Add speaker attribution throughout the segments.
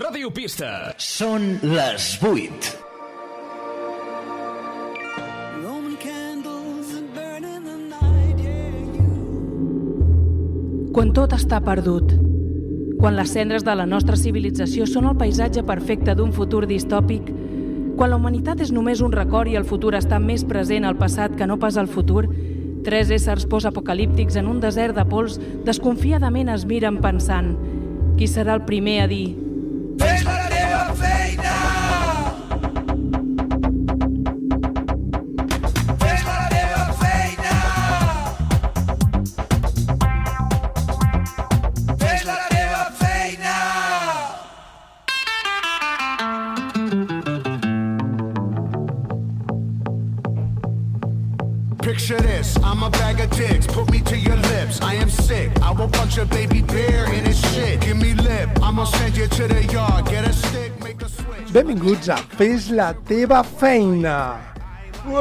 Speaker 1: Ràdio Pista.
Speaker 2: Són les 8.
Speaker 3: Quan tot està perdut, quan les cendres de la nostra civilització són el paisatge perfecte d'un futur distòpic, quan la humanitat és només un record i el futur està més present al passat que no pas al futur, tres éssers postapocalíptics en un desert de pols desconfiadament es miren pensant qui serà el primer a dir
Speaker 4: Fes la teva feina! Fes la teva feina! Fes la teva feina!
Speaker 5: Picture this, I'm a bag of dicks, put me to your lips. I am sick, I will punch a baby bear in his shit. Give me lip, I'm gonna send you to the yard, get a stick, make a switch.
Speaker 6: Benvinguts a Fes la teva feina.
Speaker 7: in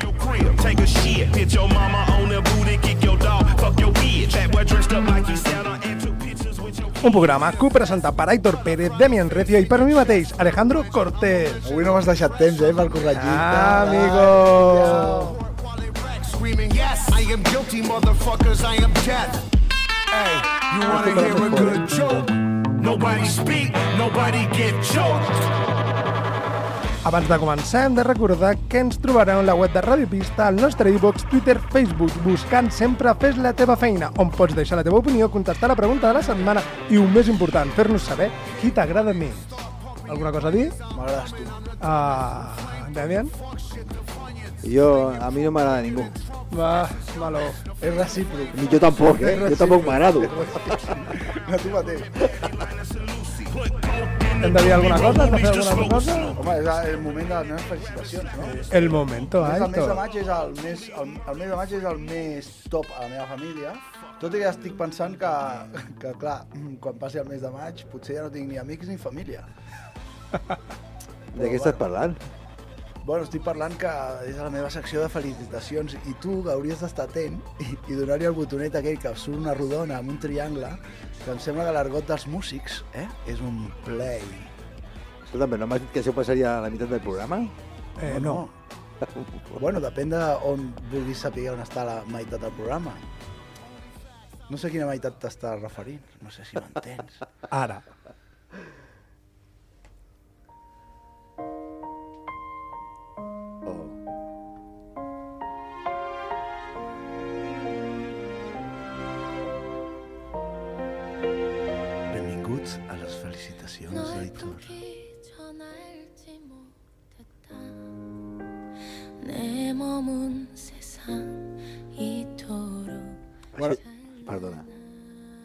Speaker 7: your crib. Take a shit. Hit your mama on the booty, kick your dog, fuck your bitch. That boy dressed up like he Santa and took pictures with your
Speaker 6: Un programa que ho presenta per Aitor Pérez, Demian Recio i per mi mateix, Alejandro Cortés.
Speaker 8: Avui no m'has deixat temps, eh, per corregir.
Speaker 6: Ah, amigo!
Speaker 5: While they rack, screaming yes, I am guilty, motherfuckers, I am death. Hey, you wanna hear a good joke?
Speaker 7: Nobody speak, nobody get choked.
Speaker 6: Abans de començar, hem de recordar que ens trobareu en la web de Radio Pista, al nostre iVox, Twitter, Facebook, buscant sempre Fes la teva feina, on pots deixar la teva opinió, contestar la pregunta de la setmana i, un més important, fer-nos saber qui t'agrada més. Alguna cosa a dir?
Speaker 8: M'agrades tu.
Speaker 6: Ah, Damian?
Speaker 8: Jo, a mi no m'agrada ningú.
Speaker 6: Va, malo. És recíproc.
Speaker 8: Ni jo tampoc, eh? Jo tampoc m'agrado. Ah,
Speaker 6: A tu mateix.
Speaker 7: Put coke in
Speaker 6: Hem de dir alguna cosa? Hem de fer alguna altra cosa?
Speaker 8: Home, és el moment de les meves felicitacions, no?
Speaker 6: El momento,
Speaker 8: El mes de
Speaker 6: Aitor.
Speaker 8: maig és el més, el, el mes de maig és el més top a la meva família, tot i que estic pensant que, que clar, quan passi el mes de maig potser ja no tinc ni amics ni família.
Speaker 9: De què estàs parlant?
Speaker 8: Bueno, estic parlant que és la meva secció de felicitacions i tu hauries d'estar atent i, i donar-li el botonet aquell que surt una rodona amb un triangle que em sembla que l'argot dels músics eh, és un play.
Speaker 9: Escolta'm, no m'has dit que això passaria a la meitat del programa?
Speaker 6: Eh, no.
Speaker 8: Bueno, depèn de on vulguis saber on està la meitat del programa. No sé a quina meitat t'estàs referint, no sé si m'entens.
Speaker 6: Ara.
Speaker 8: Benvinguts a les felicitacions d'Aitor.
Speaker 10: 너에게 전할지 못했다 내 머문 세상 이토록
Speaker 8: Bueno,
Speaker 9: Perdona.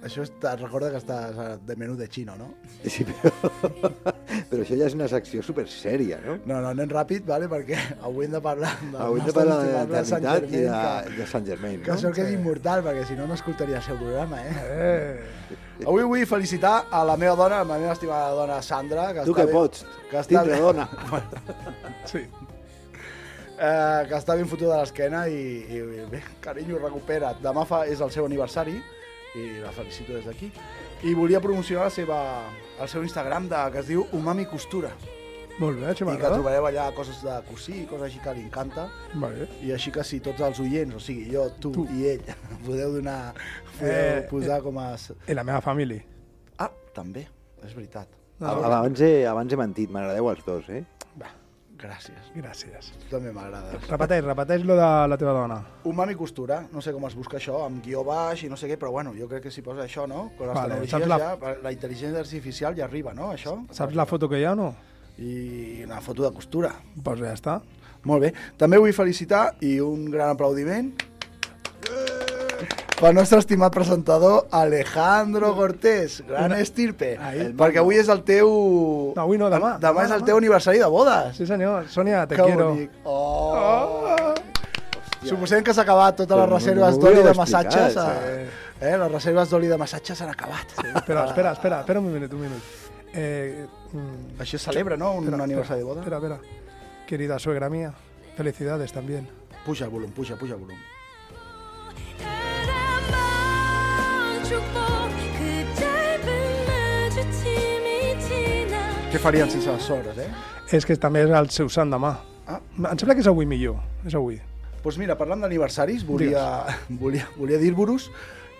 Speaker 8: això està, recorda que estàs a- de menú de xino, no?
Speaker 9: Sí, però... però això ja és una secció super sèria, no?
Speaker 8: No, no, anem ràpid, vale? perquè avui hem de parlar del
Speaker 9: Avui de
Speaker 8: nostre
Speaker 9: parlar de la
Speaker 8: estimable Sant
Speaker 9: eternitat i de,
Speaker 8: Germain,
Speaker 9: de Sant Germain,
Speaker 8: que, que
Speaker 9: no?
Speaker 8: sort que és immortal, perquè si no, no escoltaria el seu programa, eh? eh? Avui vull felicitar a la meva dona, a la meva estimada dona Sandra, que
Speaker 9: Tu
Speaker 8: està
Speaker 9: que
Speaker 8: ben-
Speaker 9: pots,
Speaker 8: que està
Speaker 9: tindre
Speaker 8: ben-
Speaker 9: dona.
Speaker 6: Sí.
Speaker 8: eh, que està ben fotuda a l'esquena i, i, i bé, carinyo, recupera't. Demà fa, és el seu aniversari i la felicito des d'aquí. I volia promocionar la seva, el seu Instagram de, que es diu Umami Costura
Speaker 6: Molt bé, això
Speaker 8: i que
Speaker 6: m'agrada.
Speaker 8: trobareu allà coses de cosir i coses així que li encanta.
Speaker 6: Vale.
Speaker 8: I així que si tots els oients, o sigui, jo, tu,
Speaker 6: Tu.
Speaker 8: i ell, podeu donar, podeu
Speaker 6: Eh,
Speaker 8: posar com a...
Speaker 6: I la meva família.
Speaker 8: Ah, també, és veritat.
Speaker 9: Abans he, abans he mentit, m'agradeu els dos, eh?
Speaker 8: Va, gràcies.
Speaker 6: Gràcies.
Speaker 8: Tu també m'agrades.
Speaker 6: Repeteix, repeteix lo de la teva dona.
Speaker 8: Umami Costura, no sé com es busca això, amb guió baix i no sé què, però bueno, jo crec que si posa això, no? Con les
Speaker 6: Vale,
Speaker 8: vale,
Speaker 6: saps
Speaker 8: tecnologies
Speaker 6: la-
Speaker 8: la... ja, la intel·ligència artificial ja arriba, no, això?
Speaker 6: Saps la foto que hi ha o no?
Speaker 8: I una foto de costura.
Speaker 6: Doncs pues ja està.
Speaker 8: Molt bé. També vull felicitar i un gran aplaudiment pel nostre estimat presentador Alejandro Cortés, gran estirpe,
Speaker 6: Ahí.
Speaker 8: perquè avui és el teu...
Speaker 6: No, avui no, demà.
Speaker 8: Demà, és el teu aniversari de bodes.
Speaker 6: Sí, senyor. Sònia, te
Speaker 8: que
Speaker 6: quiero.
Speaker 8: bonic. Oh. Suposem que s'ha acabat totes
Speaker 9: Però
Speaker 8: les
Speaker 9: no
Speaker 8: reserves
Speaker 9: m'ho
Speaker 8: d'oli
Speaker 9: havíeu
Speaker 8: de massatges.
Speaker 9: explicat,
Speaker 8: Eh? eh? Les reserves d'oli de massatges s'han acabat.
Speaker 6: Espera, espera, espera, espera un minut, un minut. Eh, mm,
Speaker 8: Això es celebra, no? Un aniversari de boda.
Speaker 6: Espera, espera. Querida suegra mía, felicidades también.
Speaker 8: Puja el volum, puja, puja el volum.
Speaker 10: 사랑만 축복
Speaker 8: Què farien sense les sobres, eh?
Speaker 6: És que també és el seu sant demà.
Speaker 8: Ah.
Speaker 6: Em sembla que és avui millor, és avui.
Speaker 8: Doncs pues mira, parlant d'aniversaris, volia, volia, volia dir-vos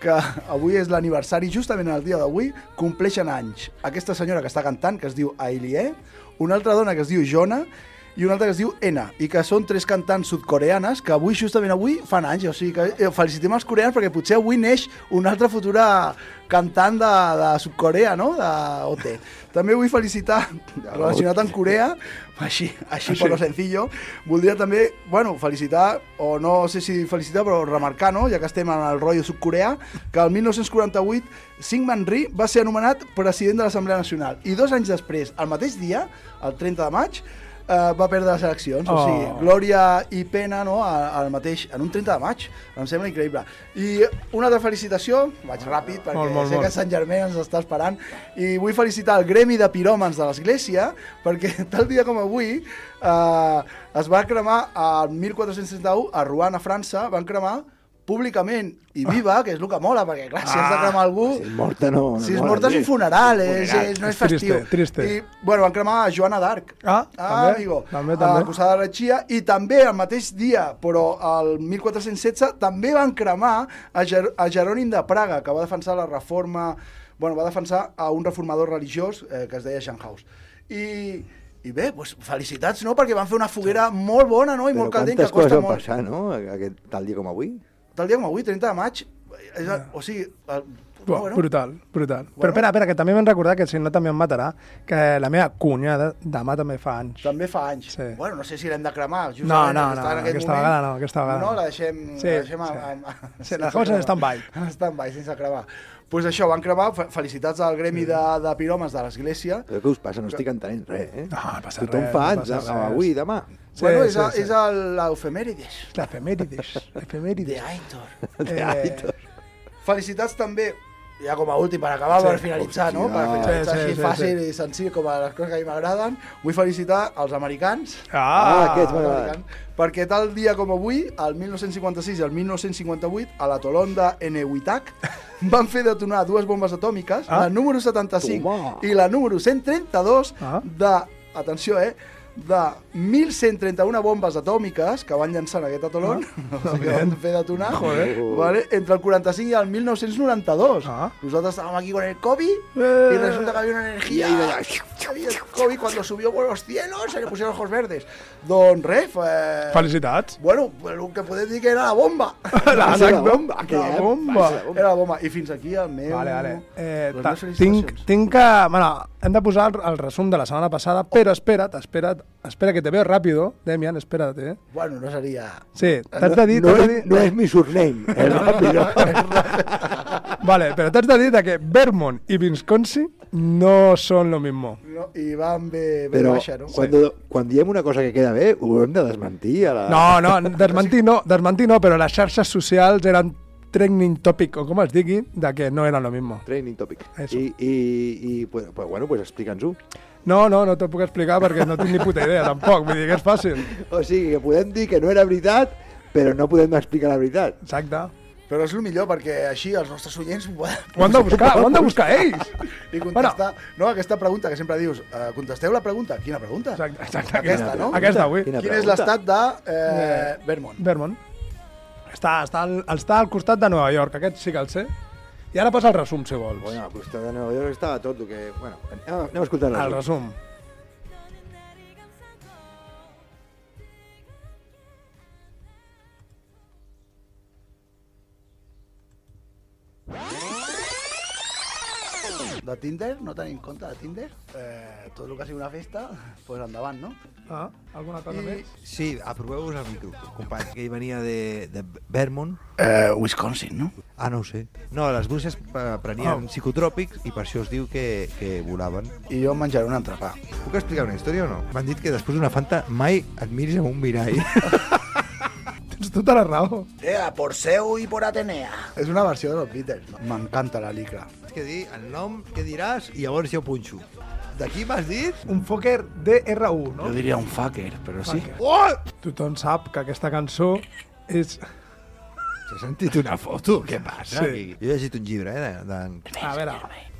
Speaker 8: que avui és l'aniversari, justament el dia d'avui, compleixen anys. Aquesta senyora que està cantant, que es diu Ailie, una altra dona que es diu Jona i una altra que es diu Ena, i que són tres cantants sudcoreanes que avui, justament avui, fan anys. O sigui que eh, felicitem els coreans perquè potser avui neix una altra futura cantant de, de Sud-Corea, no? De OT. També vull felicitar, relacionat amb Corea, així, així per lo sencillo, voldria també, bueno, felicitar, o no sé si felicitar, però remarcar, no?, ja que estem en el rotllo sud-coreà, que el 1948 Syngman Rhee va ser anomenat president de l'Assemblea Nacional. I dos anys després, el mateix dia, el 30 de maig, eh, va perdre les eleccions. Oh. O sigui,
Speaker 6: Oh.
Speaker 8: glòria i pena no? A- al mateix, en un 30 de maig. Em sembla increïble. I una altra felicitació, vaig ràpid perquè
Speaker 6: Oh, Molt, molt,
Speaker 8: sé
Speaker 6: molt.
Speaker 8: que Sant Germà ens està esperant i vull felicitar el gremi de piròmans de l'Església perquè tal dia com avui eh, es va cremar el 1461 a Rouen, a França, van cremar públicament i viva, que és el que mola, perquè clar, si has de cremar algú...
Speaker 9: Si és morta no... no
Speaker 8: Si és
Speaker 9: mola.
Speaker 8: morta és un funeral, és, és, no és
Speaker 6: És triste,
Speaker 8: festiu.
Speaker 6: triste.
Speaker 8: I, bueno, van cremar a Joana d'Arc.
Speaker 6: Ah, també,
Speaker 8: amigo.
Speaker 6: també,
Speaker 8: A
Speaker 6: també.
Speaker 8: la Cruzada de la Chia. I també el mateix dia, però el 1416, també van cremar a, Ger a Jerònim de Praga, que va defensar la reforma... Bueno, va defensar a un reformador religiós eh, que es deia Schanhaus. I, i bé, doncs, felicitats, no?, perquè van fer una foguera molt bona, no?, i
Speaker 9: Però
Speaker 8: molt caldent, que
Speaker 9: quantes coses
Speaker 8: costa
Speaker 9: van
Speaker 8: molt
Speaker 9: passar, no? Aquest tal dia com avui.
Speaker 8: tal dia com avui, 30 de maig, és, el- o sigui, el,
Speaker 6: Buah,
Speaker 8: bueno,
Speaker 6: Brutal, brutal. Però espera, espera, que també m'han recordat, que si no també em matarà, que la meva cunyada demà també fa anys.
Speaker 8: també fa anys.
Speaker 6: Sí.
Speaker 8: Bueno, no sé si l'hem de cremar, justament,
Speaker 6: No, no,
Speaker 8: perquè
Speaker 6: no,
Speaker 8: està en aquest
Speaker 6: aquesta
Speaker 8: moment.
Speaker 6: vegada no, aquesta vegada
Speaker 8: No,
Speaker 6: no.
Speaker 8: la deixem,
Speaker 6: Sí,
Speaker 8: la deixem
Speaker 6: sí.
Speaker 8: amb, amb,
Speaker 6: Sí, la deixem en stand-by.
Speaker 8: En stand-by, sense cremar. Doncs pues això, van cremar, fe- felicitats al gremi de, de piròmens de l'església.
Speaker 9: Però què us passa? No estic entenent res, eh?
Speaker 6: No, no passa
Speaker 9: Tothom
Speaker 6: res,
Speaker 9: fa
Speaker 6: no
Speaker 9: anys,
Speaker 6: passa
Speaker 9: eh?
Speaker 6: res.
Speaker 9: avui, demà.
Speaker 8: Sí, bueno, és,
Speaker 6: sí,
Speaker 8: a,
Speaker 6: sí.
Speaker 8: és el- l'efemèrides
Speaker 6: Efemèrides,
Speaker 8: de
Speaker 6: efemèrides.
Speaker 8: Aitor.
Speaker 6: Eh,
Speaker 8: Felicitats també, ja com a últim, per acabar,
Speaker 6: Sí.
Speaker 8: per finalitzar, no? Per
Speaker 9: Hòstia.
Speaker 8: finalitzar
Speaker 6: Sí, sí,
Speaker 8: així
Speaker 6: sí,
Speaker 8: fàcil i senzill com a les coses que a mi m'agraden. Vull felicitar els americans,
Speaker 9: Ah,
Speaker 6: ah,
Speaker 9: aquests m'agraden.
Speaker 8: American, perquè tal dia com avui, el 1956 i el 1958, a la Tolon de Enewitak, van fer detonar dues bombes atòmiques,
Speaker 6: Ah.
Speaker 8: la número 75
Speaker 9: Toma.
Speaker 8: i la número 132,
Speaker 6: Ah.
Speaker 8: de, atenció, eh, de 1.131 bombes atòmiques que van llançar en aquest atolón,
Speaker 6: Ah,
Speaker 8: o sigui que van fer detonar, vale, entre el 45 i el 1992.
Speaker 6: Ah.
Speaker 8: Nosaltres estàvem aquí con el COVID
Speaker 6: Eh.
Speaker 8: y resulta que había una energía. Y el COVID cuando subió por los cielos se le pusieron ojos verdes. Don Ref. Eh,
Speaker 6: Felicitats.
Speaker 8: bueno, el que podem dir que era la bomba.
Speaker 6: La,
Speaker 9: ser la
Speaker 6: la
Speaker 9: bomba,
Speaker 6: bomba,
Speaker 9: que
Speaker 6: la
Speaker 9: ja-
Speaker 6: bomba.
Speaker 8: Era la bomba. I fins aquí el meu...
Speaker 6: Vale, vale.
Speaker 8: Doncs
Speaker 6: Eh,
Speaker 8: les
Speaker 6: ta-
Speaker 8: meves
Speaker 6: tinc,
Speaker 8: felicitacions.
Speaker 6: tinc que... Bueno, hem de posar el, el resum de la setmana passada, però espera't, espera't, espera que te veo ràpido, Demian, espera't, eh?
Speaker 8: Bueno, no seria...
Speaker 6: Sí, t'has de dir...
Speaker 9: No,
Speaker 6: t'has de
Speaker 9: és,
Speaker 6: dir...
Speaker 9: no és mi surname, eh? és ràpido.
Speaker 6: Vale, però t'has de dir de que Vermont i Wisconsin no són lo mismo.
Speaker 8: No, I van bé, bé
Speaker 9: Però
Speaker 8: baixa, no?
Speaker 9: quan, quan diem una cosa que queda bé, ho hem de desmentir. A la...
Speaker 6: No, no, desmentir no, desmentir no, però les xarxes socials eren trending topic, o com es digui, de que no eren lo mismo.
Speaker 9: Training topic.
Speaker 6: Eso.
Speaker 9: I, i, i pues, pues, bueno, pues explica'ns-ho.
Speaker 6: No, no, no t'ho puc explicar perquè no tinc ni puta idea, tampoc, vull dir que és fàcil.
Speaker 9: O sigui, que podem dir que no era veritat, però no podem explicar la veritat.
Speaker 6: Exacte.
Speaker 8: Però és el millor perquè així els nostres oients ho poden-
Speaker 6: Ho han de buscar, ho han de buscar ells!
Speaker 8: i contestar... No, aquesta pregunta que sempre dius, eh, contesteu la pregunta. Quina pregunta?
Speaker 6: Exacte, exacte.
Speaker 8: Aquesta, no?
Speaker 6: Aquesta, avui.
Speaker 9: Quina
Speaker 8: Quin és
Speaker 9: pregunta?
Speaker 8: l'estat de eh, Vermont?
Speaker 6: Vermont. Està, està, al, està al costat de Nova York, aquest sí que el sé. I ara posa el resum, si vols.
Speaker 9: Bueno, a costat de Nova York estava tot el que... Bueno, anem, a- anem a escoltar
Speaker 6: el resum.
Speaker 8: de Tinder, no tenim compte de Tinder. Eh, tot el que sigui una festa, doncs pues endavant, no?
Speaker 6: Ah, alguna cosa I... més?
Speaker 1: Sí, aproveu-vos el micro, company, que ell venia de, de Vermont.
Speaker 8: Eh, Wisconsin, no?
Speaker 1: Ah, no ho sé. No, les bruixes eh, prenien
Speaker 6: Oh.
Speaker 1: psicotròpics i per això es diu que, que volaven.
Speaker 8: I jo menjaré un entrepà.
Speaker 1: Puc explicar una història o no? M'han dit que després d'una fanta mai et miris amb un mirall.
Speaker 6: Tens tota la raó.
Speaker 8: Ea, por Seu i por Atenea. És una versió de los Beatles. M'encanta la licra.
Speaker 1: Tens que dir el nom, què diràs, i llavors jo punxo. D'aquí m'has dit?
Speaker 6: Un fucker DRU, no?
Speaker 8: diria un fucker, però sí.
Speaker 1: Oh!
Speaker 6: Tothom sap que aquesta cançó és...
Speaker 1: S'ha sentit una foto, què passa?
Speaker 6: Sí.
Speaker 1: Sí. Jo he llegit un llibre, eh, de, de...
Speaker 6: A veure,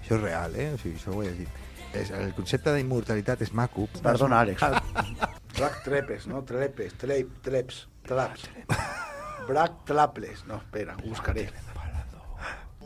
Speaker 1: Això és real, eh? O sigui, això ho he llegit.
Speaker 9: és, el concepte d'immortalitat és maco.
Speaker 8: Perdona, Àlex. Brac Oh, trepes, no? Trepes, trep, treps, traps. Brac traples. No, espera, ho buscaré.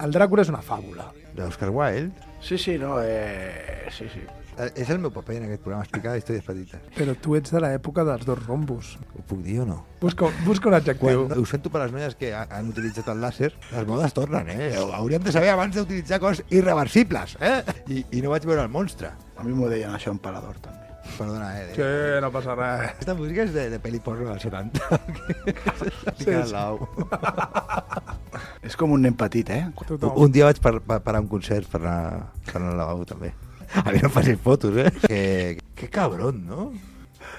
Speaker 6: El Dràcula és una fàbula.
Speaker 9: D'Oscar Wilde.
Speaker 8: Sí, sí, no, eh... Sí, sí.
Speaker 9: Eh, És el meu paper en aquest programa, explicar històries petites.
Speaker 6: Però tu ets de l'època dels dos rombos.
Speaker 9: Ho puc dir o no?
Speaker 6: Busca, busca un adjectiu.
Speaker 9: Quan, ho sento per les noies que ha- han utilitzat el làser, les modes tornen, eh? Ho Hauríem de saber abans d'utilitzar coses irreversibles, eh? I, I no vaig veure el monstre.
Speaker 8: A mi m'ho deien això en Parador, també.
Speaker 9: Perdona, eh?
Speaker 6: Sí, no passa res.
Speaker 9: Aquesta música és de, de pel·li porno dels 70. sí,
Speaker 6: sí.
Speaker 9: sí.
Speaker 8: És com un nen petit, eh?
Speaker 6: Tothom.
Speaker 9: Un dia vaig per, per, parar a un concert per anar, per anar al lavabo, també. A mi no em facis fotos, eh? Que, que cabrón, no?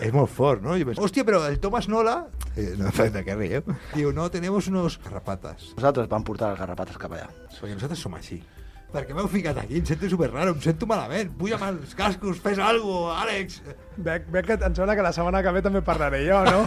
Speaker 9: És molt fort, no? Jo penso, hòstia, però el Thomas Nola... Eh, No, de què rieu? Diu, no, tenemos unos garrapatas.
Speaker 8: Nosaltres vam portar les garrapates cap allà.
Speaker 9: Perquè nosaltres som així. Perquè m'heu ficat aquí, em sento super raro, em sento malament. Puja amb els cascos, fes algo, Àlex.
Speaker 6: Bec, bec, em sembla que la setmana que ve també parlaré jo, no?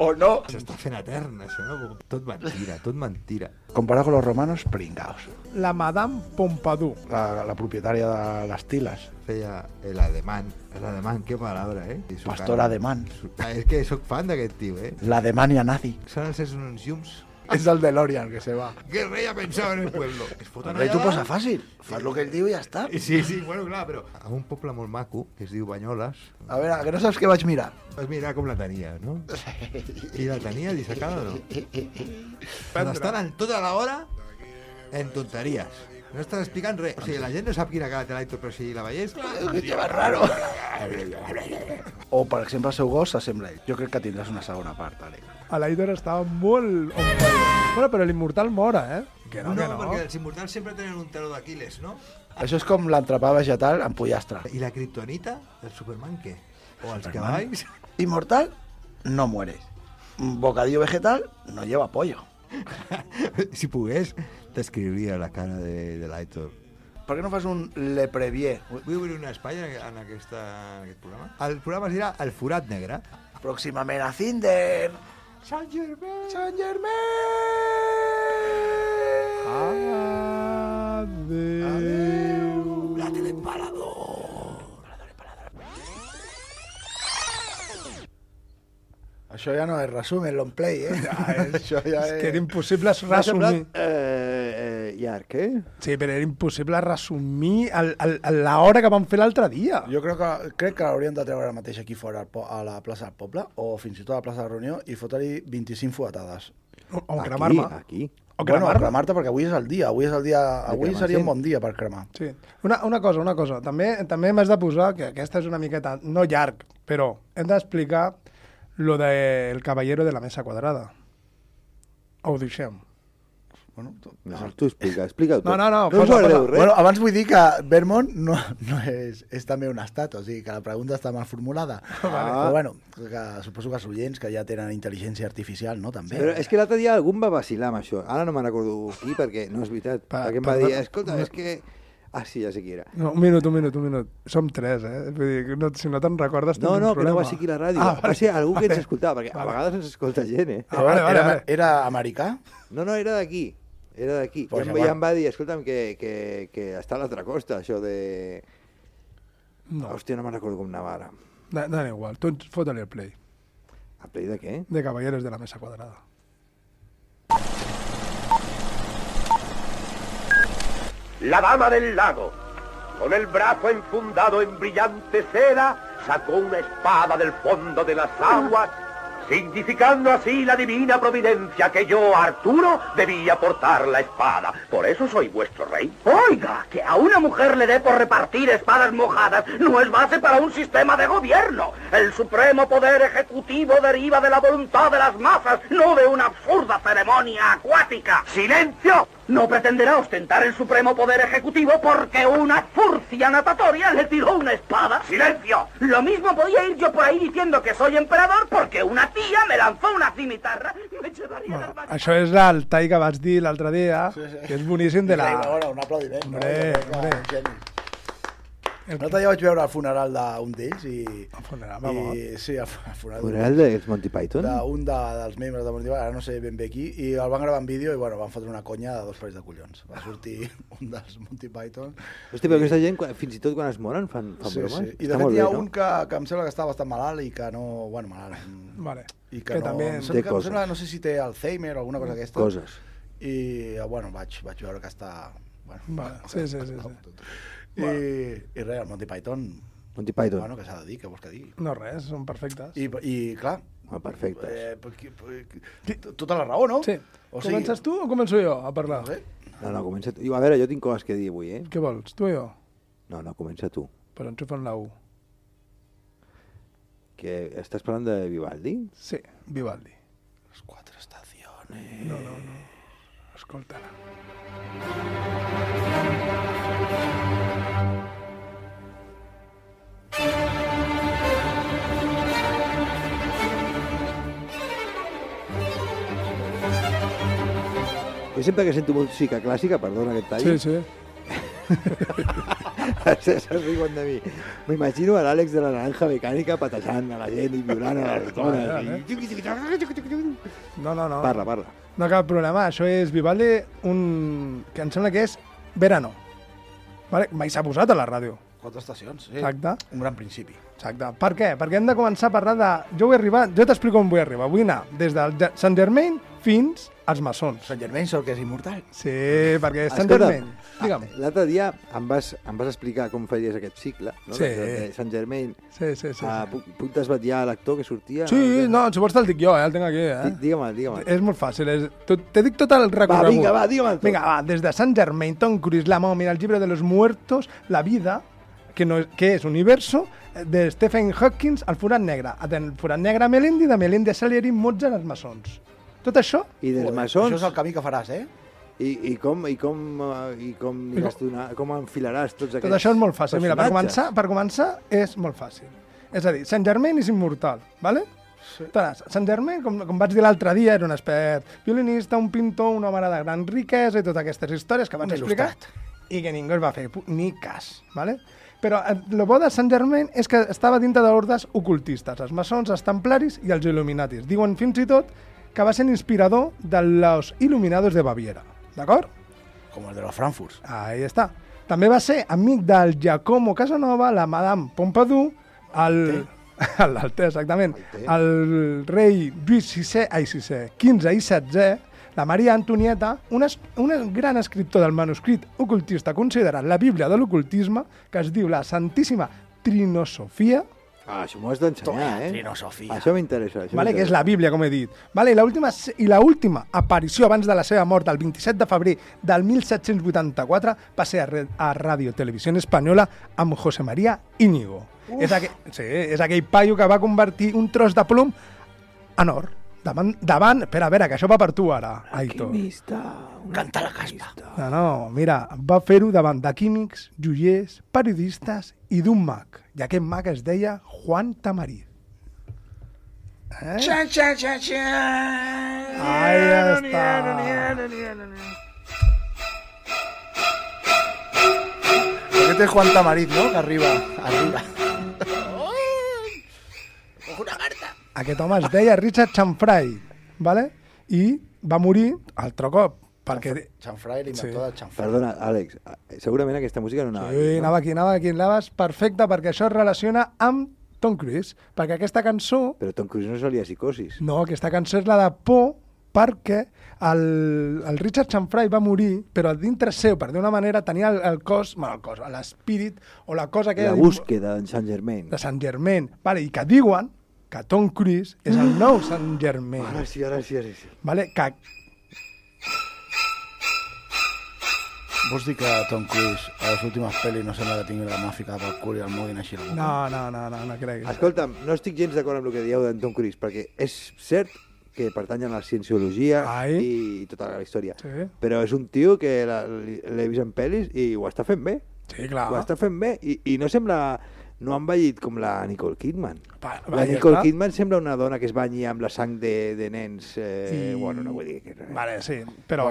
Speaker 8: O no.
Speaker 9: S'està fent etern, això, no? Tot mentira, tot mentira.
Speaker 8: Comparado con los romanos, pringaos.
Speaker 6: La Madame Pompadour.
Speaker 8: La, la propietària de les tiles.
Speaker 9: Feia el alemán, el alemán, qué palabra, eh? I su
Speaker 8: Pastor
Speaker 9: cara.
Speaker 8: alemán.
Speaker 9: Su- Ah, És que sóc fan d'aquest tio, eh?
Speaker 8: La de mania nazi.
Speaker 9: Són els seus anunciums.
Speaker 8: És el DeLorean que se va.
Speaker 9: ¿Qué rey ha pensado en el pueblo? Es foten
Speaker 8: Rei,
Speaker 9: allà.
Speaker 8: t'ho posa fàcil. Fas el que ell diu i ja està.
Speaker 9: Sí, sí, bueno, clar, però... A un poble molt maco, que es diu Banyoles,
Speaker 8: A veure, que no saps què vaig mirar?
Speaker 9: vas mirar com la tenia, no? I la tenia dissecada, no? Quan estan en tota l'hora en tonteries. No estan explicant res. O sigui, la gent no sap quina cara té l'Aitor, però si la veiés...
Speaker 8: O, per exemple, el seu gos s'assembla a ell. Jo crec que tindràs una segona part, Alec.
Speaker 6: L'Aidor estava molt... on fire. Bueno, però l'immortal mora, eh? Que no,
Speaker 9: no,
Speaker 6: que no.
Speaker 9: perquè els immortals sempre tenen un taló d'Aquiles, no?
Speaker 8: Això és com l'entrepà vegetal amb pollastre.
Speaker 9: I la kriptonita del Superman, què? O els cavalls?
Speaker 8: Inmortal, no mueres. Bocadillo vegetal, no lleva pollo.
Speaker 9: si pogués, t'escriuria la cara de, de l'Aitor.
Speaker 8: Per què no fas un le previer?
Speaker 9: Vull obrir un espai en, en, aquesta, en aquest programa. El programa es dirà El Forat Negre.
Speaker 8: Pròximament a Cinder.
Speaker 9: Sant Germain!
Speaker 8: Sant Germain!
Speaker 6: Adéu. Adéu.
Speaker 8: La tele embalador. Això ja no és resum, és long play, eh? Això ja
Speaker 6: És que era impossible resumir.
Speaker 11: Eh, eh, llarg, eh?
Speaker 6: Sí, però era impossible resumir el- el- el- la hora que vam fer l'altre dia.
Speaker 8: Jo crec que, crec que l'hauríem de treure ara mateix aquí fora al po- a la plaça del poble o fins i tot a la plaça de la reunió i fotre-hi 25 fuetades.
Speaker 6: O, o
Speaker 11: Aquí,
Speaker 6: cremar-me.
Speaker 11: aquí.
Speaker 6: O
Speaker 8: Bueno,
Speaker 6: cremar-me.
Speaker 8: cremar-te perquè avui és el dia, avui és el dia, avui
Speaker 11: cremar, sí.
Speaker 8: seria un bon dia per cremar.
Speaker 6: Sí. Una, una cosa, una cosa. També també m'has de posar, que aquesta és una miqueta, no llarg, però hem d'explicar lo del de caballero de la mesa quadrada. Ho deixem.
Speaker 8: Bueno, tu-
Speaker 11: No, tu explica, explica-ho tu.
Speaker 6: No, no, no,
Speaker 11: no
Speaker 6: posa,
Speaker 11: guardeu
Speaker 6: posa.
Speaker 11: res.
Speaker 8: Bueno, abans vull dir que Vermont no, no és, és també un estat, o sigui que la pregunta està mal formulada. Ah. Però bueno, que suposo que els oients que ja tenen intel·ligència artificial, no? També.
Speaker 11: Però és que l'altre dia algun va vacilar amb això. Ara no me'n recordo qui, perquè no és veritat.
Speaker 6: Pa-
Speaker 11: perquè em
Speaker 6: pa-
Speaker 11: va dir,
Speaker 6: pa-
Speaker 11: escolta, és que... Ah, sí, ja sé qui era.
Speaker 6: No, un minut, un minut, un minut. Som tres, eh? Vull dir, que no, si no te'n recordes,
Speaker 11: No, no,
Speaker 6: tens un
Speaker 11: que no
Speaker 6: problema.
Speaker 11: va ser aquí la ràdio.
Speaker 6: Ah,
Speaker 11: Ah, va
Speaker 6: vale.
Speaker 11: ser algú que ens
Speaker 6: Vale.
Speaker 11: escoltava, perquè a vegades ens escolta gent, eh?
Speaker 6: Ah, vale, vale,
Speaker 8: era,
Speaker 6: vale.
Speaker 8: era americà?
Speaker 11: No, no, era d'aquí. Era d'aquí. Pues
Speaker 8: Pues
Speaker 11: I, em,
Speaker 8: llavors-
Speaker 11: I em va dir, escolta'm, que, que, que està a l'altra costa, això de...
Speaker 6: No,
Speaker 11: Hòstia, no me'n recordo com anava ara.
Speaker 6: da- dona igual. Tu ens fot-li el play.
Speaker 11: A play de què?
Speaker 6: De caballeros de la mesa quadrada.
Speaker 12: la dama del lago. Con el brazo enfundado en brillante seda, sacó una espada del fondo de las aguas, significando así la divina providencia que yo, Arturo, debía portar la espada. Por eso soy vuestro rey. Oiga, que a una mujer le dé por repartir espadas mojadas no es base para un sistema de gobierno. El supremo poder ejecutivo deriva de la voluntad de las masas, no de una absurda ceremonia acuática. ¡Silencio! No pretenderá ostentar el supremo poder ejecutivo porque una furcia natatoria le tiró una espada. ¡Silencio! Lo mismo podía ir yo por ahí diciendo que soy emperador porque una tía me lanzó una cimitarra. Me llevaría
Speaker 6: Bueno,
Speaker 12: al baño.
Speaker 6: això és el tall que vas dir l'altre dia, que és boníssim de la...
Speaker 8: Bueno, un aplaudiment.
Speaker 6: Hombre,
Speaker 8: no?
Speaker 6: hombre.
Speaker 8: Geni. L'altre dia vaig veure el funeral d'un d'ells i... El
Speaker 6: funeral,
Speaker 9: va
Speaker 8: i, Sí, el, fu- el funeral,
Speaker 9: Funeral dels Monty Python?
Speaker 8: d'un de, dels membres de Monty Python, ara no sé ben bé qui, i el van gravar en vídeo i bueno, van fotre una conya de dos parells de collons. Va sortir un dels Monty Python.
Speaker 9: Hosti, però aquesta gent, quan- fins i tot quan es moren, fan, fan
Speaker 8: Sí,
Speaker 9: bromes.
Speaker 8: sí. I de fet hi ha un que, que em sembla que està bastant malalt i que no... Bueno, malalt. mm,
Speaker 6: Vale.
Speaker 8: I que,
Speaker 6: Que
Speaker 8: no,
Speaker 6: també-
Speaker 8: em sembla
Speaker 9: Té
Speaker 8: que, em
Speaker 9: coses. Mm.
Speaker 8: sembla, no sé si té Alzheimer o alguna cosa d'aquesta.
Speaker 9: Coses.
Speaker 8: I, eh, bueno, vaig, vaig veure que està... Bueno,
Speaker 6: Vale, sí, sí, sí, sí.
Speaker 8: I, i res, el Monty Python...
Speaker 9: Monty Python.
Speaker 8: Bueno, que s'ha de dir, que vols que digui.
Speaker 6: No res, són perfectes.
Speaker 8: I, i clar...
Speaker 9: Ah, perfecte.
Speaker 8: Eh, pues, qui- pues, qui- tota la raó, no?
Speaker 6: Sí.
Speaker 8: O sigui,
Speaker 6: Comences tu o començo jo a parlar?
Speaker 9: No, no, comença tu. Jo, A veure, jo tinc coses que dir avui, eh?
Speaker 6: Què vols, tu o jo?
Speaker 9: No, no, comença tu.
Speaker 6: Però enxufen la U.
Speaker 9: Que estàs parlant de Vivaldi?
Speaker 6: Sí, Vivaldi. Las cuatro estaciones. No, no, no. Escolta'la.
Speaker 9: Jo sempre que sento música clàssica, perdona aquest tall,
Speaker 6: Sí, sí.
Speaker 9: se, se riuen de mi. M'imagino a l'Àlex de la Naranja Mecànica patejant a la gent i violant a les dones. I...
Speaker 6: No, no, no.
Speaker 9: Parla, parla.
Speaker 6: No cap problema, això és Vivaldi, un... que em sembla que és Verano. Vale? Mai s'ha posat a la ràdio.
Speaker 8: Quatre estacions, sí.
Speaker 6: Exacte.
Speaker 8: Un gran principi.
Speaker 6: Exacte. Per què? Perquè hem de començar a parlar de... Jo vull arribar... Jo t'explico on vull arribar. Vull anar des del Ja- Sant Germain fins als maçons.
Speaker 8: Sant Germain és el que és immortal.
Speaker 6: Sí, perquè Sant
Speaker 9: Escolta'm,
Speaker 6: Germain... Digue'm.
Speaker 9: ah, L'altre dia em vas, em vas explicar com faries aquest cicle, no?
Speaker 6: Sí.
Speaker 9: De, de Sant Germain.
Speaker 6: Sí, sí, sí.
Speaker 9: Ah, puc, puc desvetllar l'actor que sortia?
Speaker 6: Sí, no, si vols te'l dic jo, eh? El tinc aquí, eh?
Speaker 9: Di- Digue'm, digue'm.
Speaker 6: És molt fàcil, és... tot- te dic tot el recorregut.
Speaker 9: vinga, va, digue'm tot.
Speaker 6: Vinga, va, des de Sant Germain, Tom Cruise, La Mòmia, El llibre de los muertos, La vida, que, no és, que és Universo, eh, de Stephen Hawkins, El forat negre, del forat negre a Melendi, de Melendi a Salieri, Mozart, Els maçons. Tot eh, això...
Speaker 9: I dels
Speaker 8: Joder,
Speaker 9: maçons?
Speaker 8: Això és el camí que faràs, eh?
Speaker 9: I, i com, i com, eh, i com, aniràs donar, com enfilaràs tots aquests
Speaker 6: Tot això és molt fàcil. Mira, per
Speaker 9: personatges?
Speaker 6: començar, per començar és molt fàcil. És a dir, Sant Germain és immortal, ¿vale? Sí. Sant Germain, com, com vaig dir l'altre dia, era un expert violinista, un pintor, una mare de gran riquesa i totes aquestes històries que vaig
Speaker 8: Un
Speaker 6: explicar
Speaker 8: il·lustrat.
Speaker 6: i que ningú es va fer pu- ni cas, ¿vale? Però eh, lo bo de Sant Germain és que estava dintre d'ordes ocultistes, els maçons, els templaris i els il·luminatis. Diuen fins i tot que va ser inspirador de los il·luminados de Baviera, d'acord?
Speaker 8: Com el de la Frankfurt.
Speaker 6: Ahí està. També va ser amic del Giacomo Casanova, la Madame Pompadour, el... el- el té, exactament. El rei Lluís VI, ai, VI, XV i XVI, la Maria Antonieta, un, es, un gran escriptor del manuscrit ocultista considerat la Bíblia de l'ocultisme, que es diu la Santíssima Trinosofia,
Speaker 9: Ah, això m'ho has d'ensenyar, eh?
Speaker 8: Trinosofia.
Speaker 9: Això m'interessa. això
Speaker 6: Vale, que és
Speaker 9: m'interessa.
Speaker 6: la Bíblia, com he dit. Vale, i l'última i la última aparició abans de la seva mort, el 27 de febrer del 1784, va ser a, Re- a Radio Televisión Espanyola amb José María Íñigo. És aquell, sí, és aquell paio que va convertir un tros de plom en or. Davant, davant, espera, a veure, que això va per tu ara, Aitor.
Speaker 8: Canta la caspa.
Speaker 6: No, no, mira, va fer-ho davant de químics, joiers, periodistes i d'un mag. I aquest mag es deia Juan Tamariz. Eh?
Speaker 4: Xa, xa, xa, xa.
Speaker 6: Ahí
Speaker 4: No n'hi ha, no n'hi ha,
Speaker 6: està.
Speaker 4: no n'hi ha, no n'hi ha.
Speaker 8: Aquest és Juan Tamarit, no? Que arriba. Arriba.
Speaker 4: Cojo una carta.
Speaker 6: Aquest home es deia Richard Chanfray, ¿vale? i va morir altre cop, perquè...
Speaker 8: Chanfray, l'inventor
Speaker 6: Sí.
Speaker 8: de Chanfray.
Speaker 9: Perdona, Àlex, eh, segurament aquesta música no anava.
Speaker 6: Sí,
Speaker 9: aquí, no?
Speaker 6: anava aquí, anava aquí, anaves perfecte, perquè això es relaciona amb Tom Cruise, perquè aquesta cançó,
Speaker 9: Però Tom Cruise no solia psicosis.
Speaker 6: no, aquesta cançó és la de por, perquè el, el Richard Chanfray va morir, però dintre seu, per d'una manera, tenia el, el cos, bueno, el cos, l'espírit, o la cosa que...
Speaker 9: La búsqueda d'en Sant Germain.
Speaker 6: De Sant Germain, vale, i que diuen que Tom Cruise és el nou Sant Germain.
Speaker 9: Ara sí, ara sí, ara sí.
Speaker 6: Vale, que
Speaker 8: Vols dir que Tom Cruise a les últimes pel·lis no sembla que tingui la mà ficada pel cul i el moguin així a la boca?
Speaker 6: No, no, no, no, no creguis.
Speaker 9: Escolta'm, no estic gens d'acord amb el que dieu d'en Tom Cruise, perquè és cert que pertany a la cienciologia
Speaker 6: Ai.
Speaker 9: i tota la història.
Speaker 6: Sí.
Speaker 9: Però és un tio que la- li- l'he vist en pel·lis i ho està fent bé.
Speaker 6: Sí, clar.
Speaker 9: Ho està fent bé i, i no sembla... No han ballit com la Nicole Kidman.
Speaker 6: Va- va,
Speaker 9: la
Speaker 6: ja
Speaker 9: Nicole
Speaker 6: està.
Speaker 9: Kidman sembla una dona que es banyi amb la sang de, de nens... Eh,
Speaker 6: I-
Speaker 9: Bueno, no vull dir que...
Speaker 6: Vale, sí, però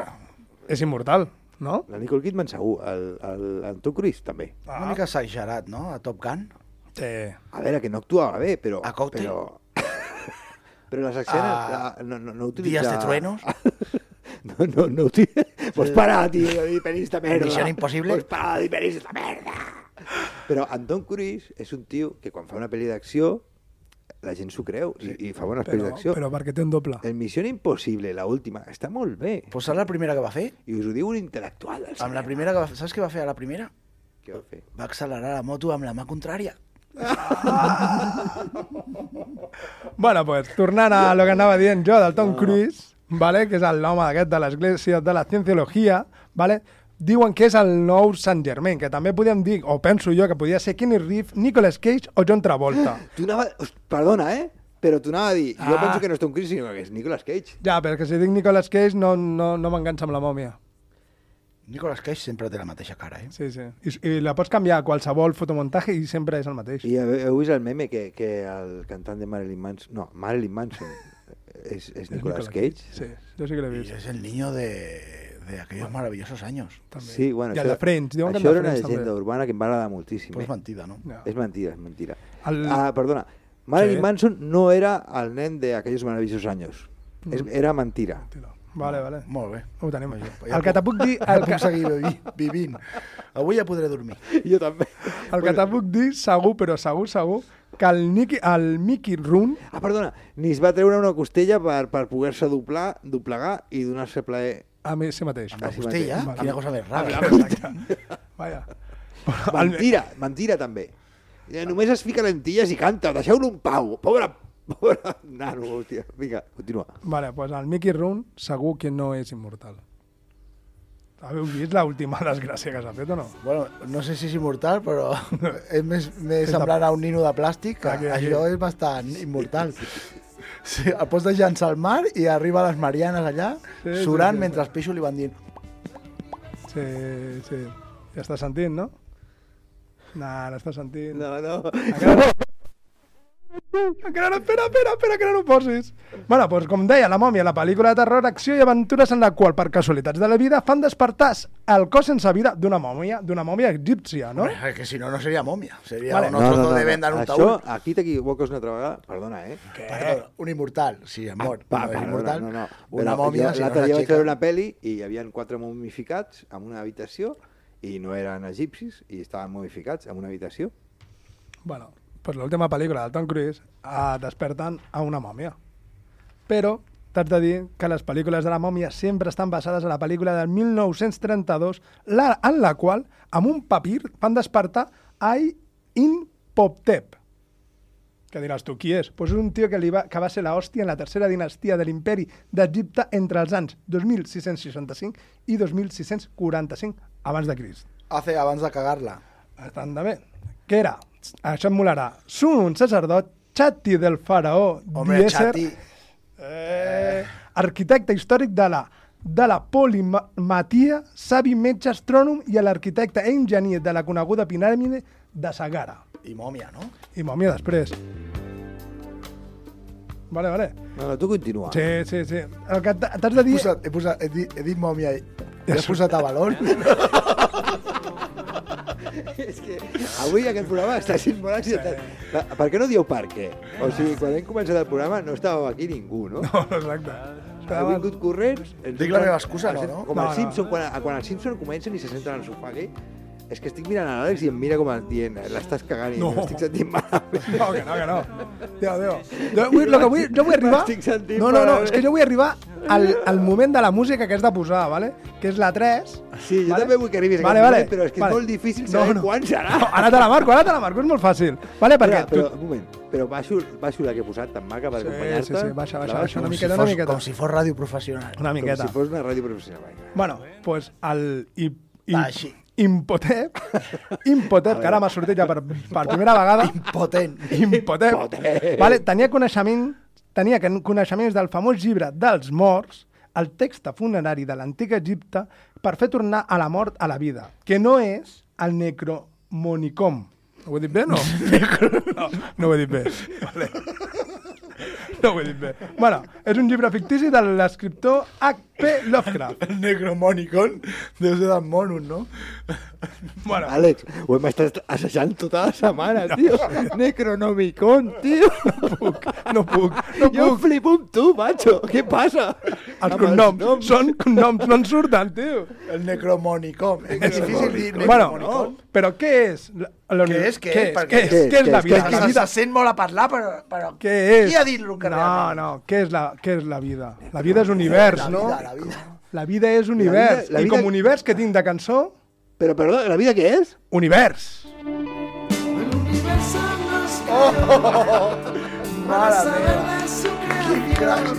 Speaker 6: és immortal. no?
Speaker 9: La Nicole Kidman segur, el, el, el Tom Cruise també.
Speaker 8: Una mica exagerat, no? A Top Gun.
Speaker 6: Ah, Sí.
Speaker 9: A veure, que no ¿eh? actuava bé, però... A
Speaker 8: Cocktail?
Speaker 9: Però, però les escenes...
Speaker 8: A-
Speaker 9: la- no, no, no utilitza...
Speaker 8: Dies de truenos.
Speaker 9: No, no, no utilitza... Pues para, tio, de dir esta merda.
Speaker 8: Misión imposible.
Speaker 9: Pues para de dir penis esta merda. Però en Tom Cruise és un tio que quan fa una pel·li d'acció la gent s'ho creu i, i fa bones pel·lis
Speaker 6: Però,
Speaker 9: d'acció.
Speaker 6: però perquè té un doble.
Speaker 9: El Misión Impossible, la última, està molt bé.
Speaker 8: Pues serà la primera que va fer.
Speaker 9: I us ho diu un intel·lectual. del
Speaker 8: Amb la primera que va... Saps què va fer a la primera?
Speaker 9: Què va fer?
Speaker 8: Va accelerar la moto amb la mà contrària.
Speaker 6: Bueno, pues, tornant a lo que anava dient jo del Tom Cruise, vale? que és el nom aquest de l'Església de la Cienciologia, vale? diuen que és el nou Sant Germain, que també podíem dir, o penso jo, que podia ser Kenny Reeves, Nicolas Cage o John Travolta.
Speaker 9: Tu anava... Host, Perdona, eh? Però tu anava a dir... Jo
Speaker 6: Ah.
Speaker 9: penso que no és Tom Cruise, sinó que és Nicolas Cage.
Speaker 6: Ja, però és que si dic Nicolas Cage no, no, no m'enganxa amb la mòmia.
Speaker 8: Nicolas Cage sempre té la mateixa cara, eh?
Speaker 6: Sí, sí. I, i la pots canviar a qualsevol fotomuntatge i sempre és el mateix.
Speaker 9: I heu, heu vist el meme que, que el cantant de Marilyn Manson... No, Marilyn Manson és, és Nicolas
Speaker 6: Nicolas
Speaker 9: Cage.
Speaker 6: Sí, jo sí que l'he vist.
Speaker 8: Es el niño de, de aquellos maravillosos años.
Speaker 9: Sí, bueno,
Speaker 6: I el de Friends, diuen que
Speaker 9: això
Speaker 6: el de
Speaker 9: era una
Speaker 6: Friends també.
Speaker 9: llegenda urbana que em va agradar moltíssim.
Speaker 8: Pues
Speaker 9: eh?
Speaker 8: mentida, no?
Speaker 6: No.
Speaker 9: És mentida, és mentida.
Speaker 6: El-
Speaker 9: Ah, perdona. Marilyn
Speaker 6: Sí.
Speaker 9: Manson no era el nen de aquells maravillosos anys. És,
Speaker 6: Mm.
Speaker 9: era mentira.
Speaker 6: Vale, vale.
Speaker 8: Molt bé.
Speaker 6: Ho tenim.
Speaker 8: Ja
Speaker 6: el que te puc dir... El
Speaker 8: puc seguir
Speaker 6: que,
Speaker 8: vivi, vivint. Avui ja podré dormir.
Speaker 9: Jo també.
Speaker 6: el que te puc dir, segur, però segur, segur, que el, Nicky, el Mickey Roon
Speaker 9: Ah, perdona, ni es va treure una costella per, per poder-se doblar, doblegar i donar-se plaer.
Speaker 6: a mi sí mateix.
Speaker 9: A si mateix.
Speaker 8: Hòstia, quina cosa més
Speaker 9: Ah,
Speaker 8: rara.
Speaker 6: Vaja.
Speaker 9: Mentira, mentira també. Ja Només es fica lentilles i canta, deixeu-lo en pau. Pobre, pobre nano, hòstia. Vinga, continua.
Speaker 6: Vale, pues el Mickey Roon segur que no és immortal. Haveu vist l'última desgràcia que s'ha fet o no?
Speaker 8: Bueno, no sé si és immortal, però és més, més semblant a un nino de plàstic. Que
Speaker 6: Aquí, aquí.
Speaker 8: Això és bastant immortal. Sí, el pots de llançar al mar i arriba a les Marianes allà,
Speaker 6: Sí, sí,
Speaker 8: surant
Speaker 6: sí.
Speaker 8: mentre els peixos li van dient
Speaker 6: Sí, sí. Ja estàs sentint, no? No, no estàs sentint.
Speaker 9: No, no.
Speaker 6: Encara no, espera, espera, espera, que no ho posis. Bueno, doncs com deia, La mòmia, la pel·lícula de terror, acció i aventures en la qual, per casualitats de la vida, fan despertar el cos sense vida d'una mòmia, d'una mòmia egípcia, no?
Speaker 8: Hombre, Ah, que si no, no seria mòmia. Seria
Speaker 6: Vale.
Speaker 8: vale. un no, no, Ah, de venda en un
Speaker 9: Això,
Speaker 8: taüt.
Speaker 9: aquí t'equivoques una altra vegada. Perdona, eh?
Speaker 8: Perdona, un immortal, sí, em mor.
Speaker 9: Va,
Speaker 8: no,
Speaker 9: perdona,
Speaker 8: és immortal.
Speaker 9: no, no.
Speaker 8: Una
Speaker 9: Però
Speaker 8: mòmia,
Speaker 9: jo
Speaker 8: si
Speaker 9: L'altre dia
Speaker 8: no és una
Speaker 9: vaig veure
Speaker 8: xica.
Speaker 9: una peli i hi havia quatre momificats en una habitació i no eren egipcis i estaven momificats en una habitació.
Speaker 6: Bueno, pues l'última pel·lícula del Tom Cruise eh, desperten a una mòmia. Però t'has de dir que les pel·lícules de la mòmia sempre estan basades a la pel·lícula del 1932, la, en la qual, amb un papir, van despertar Ai In Poptep. Que diràs tu, qui és? Pues és un tio que, li va, que va ser la hòstia en la tercera dinastia de l'imperi d'Egipte entre els anys 2665 i 2645 abans de Crist.
Speaker 8: Hace abans de cagar-la.
Speaker 6: Estan de bé. Què era? Ah, Això em molarà. Sun, un sacerdot, Chatti del faraó,
Speaker 8: Hombre,
Speaker 6: diésser,
Speaker 8: Chati,
Speaker 6: eh, arquitecte històric de la, de la polimatia, savi metge astrònom i l'arquitecte i enginyer de la coneguda piràmide de Sagara.
Speaker 8: i mòmia, no?
Speaker 6: I mòmia després. Vale, vale.
Speaker 9: No, no, tu continua.
Speaker 6: Sí, sí, sí. El que t'ha- t'has de
Speaker 8: He,
Speaker 6: dir...
Speaker 8: posat, he, posat, he, dit, he dit mòmia i i he posat a valor.
Speaker 9: És que avui aquest programa està sent molt accidentat. Per, per què no dieu per què? O sigui, quan hem començat el programa no estàveu aquí ningú, no?
Speaker 6: No, exacte.
Speaker 9: Heu vingut corrents... ens
Speaker 8: Dic la
Speaker 9: hem-
Speaker 8: meva excusa, no,
Speaker 9: ens hem-
Speaker 8: no?
Speaker 9: Com
Speaker 6: No,
Speaker 9: no,
Speaker 6: no.
Speaker 9: el Simpson, quan, quan el Simpson comencen i se senten al sofà aquí, és que estic mirant a l'Àlex i em mira com a dient "Eh, l'estàs cagant i
Speaker 6: No.
Speaker 9: no. m'estic sentint malament.
Speaker 6: No, que no, que no. Déu, Déu. Jo, vull, lo que vull, jo vull arribar...
Speaker 9: M'estic sentint
Speaker 6: No, no, no,
Speaker 9: malament.
Speaker 6: és que jo vull arribar al, al moment de la música que has de posar, vale? que és la 3.
Speaker 9: Sí, jo també vull que arribis a
Speaker 6: vale,
Speaker 9: aquest
Speaker 6: vale,
Speaker 9: moment, però és que és molt difícil saber quan serà.
Speaker 6: No, ara te la marco, ara te la marco, és molt fàcil. Vale, perquè
Speaker 9: Espera, però, un moment, però baixo, baixo la que he posat tan maca per
Speaker 6: Sí,
Speaker 9: acompanyar-te.
Speaker 6: sí, sí, baixa,
Speaker 9: La baixo?
Speaker 6: baixa, baixa una
Speaker 8: Com
Speaker 6: miqueta,
Speaker 8: si
Speaker 6: una
Speaker 8: fos,
Speaker 6: miqueta.
Speaker 8: Com si fos ràdio professional.
Speaker 6: Una miqueta.
Speaker 9: Com si fos una ràdio professional. Vinga.
Speaker 6: Bueno, pues el... I, i,
Speaker 8: Va, així.
Speaker 6: Impotep, Impotep, que ara m'ha sortit ja per, per primera vegada.
Speaker 8: Impotent.
Speaker 6: Impotep. Vale, tenia coneixement, tenia con- coneixements del famós llibre dels morts, el text funerari de l'antic Egipte, per fer tornar a la mort a la vida, que no és el necromonicom. Ho he dit bé, no? no, no ho he dit bé. Vale. No ho he dit bé. Bueno, és un llibre fictici de l'escriptor H.P. Lovecraft. El Necromonicon, Deus de Monum, no? Bueno.
Speaker 9: Àlex, ho hem estat assajant tota la setmana, no. tio. Necronomicon, tio. No puc,
Speaker 6: no puc. No
Speaker 9: jo puc. flipo amb tu, macho. Què passa?
Speaker 6: Els cognoms són cognoms, no en surten, tio.
Speaker 8: El Necromonicon.
Speaker 6: És difícil dir Bueno, no, però què és? La-
Speaker 8: Què és? Què
Speaker 6: Què
Speaker 8: és?
Speaker 6: és? Què és? Què és la vida?
Speaker 8: Perquè se sent molt a parlar, però... però
Speaker 6: Què és?
Speaker 8: Qui ha dit el que
Speaker 6: no,
Speaker 8: realment?
Speaker 6: no, què és, la, què és la vida? La vida és univers,
Speaker 8: La
Speaker 6: no?
Speaker 8: vida, la vida.
Speaker 6: La vida és univers.
Speaker 9: la vida-
Speaker 6: I com univers que tinc de cançó...
Speaker 9: Però, perdó, la vida què és?
Speaker 6: Univers.
Speaker 8: Oh, mare meva. Quin crac.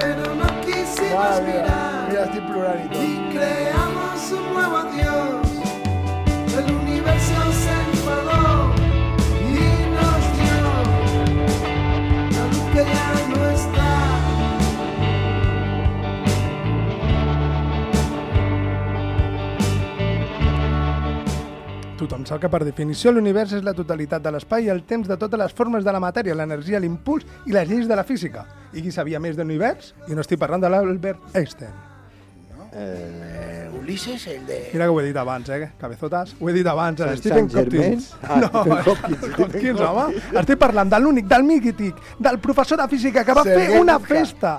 Speaker 13: Pero no quisimos
Speaker 8: Mare meva.
Speaker 13: mirar
Speaker 8: Mira, estic plorant i
Speaker 13: y
Speaker 8: tot.
Speaker 13: creamos un nuevo Dios. El universo se enfadó y nos dio la luz que ya no está.
Speaker 6: Tothom sap que per definició l'univers és la totalitat de l'espai i el temps de totes les formes de la matèria, l'energia, l'impuls i les lleis de la física. I qui sabia més de l'univers? I no estic parlant de l'Albert Einstein.
Speaker 8: Eh, Ulises, el de...
Speaker 6: Mira que ho he dit abans, eh, cabezotas. Ho he dit abans,
Speaker 8: Sant-
Speaker 6: el Stephen
Speaker 8: Sant Germain?
Speaker 6: Hopkins.
Speaker 8: Ah, Stephen
Speaker 6: Hopkins, Hopkins, home. Estic parlant de l'únic, del mític, del professor de física que va
Speaker 9: Sergei
Speaker 6: fer una
Speaker 9: Bubka.
Speaker 6: festa.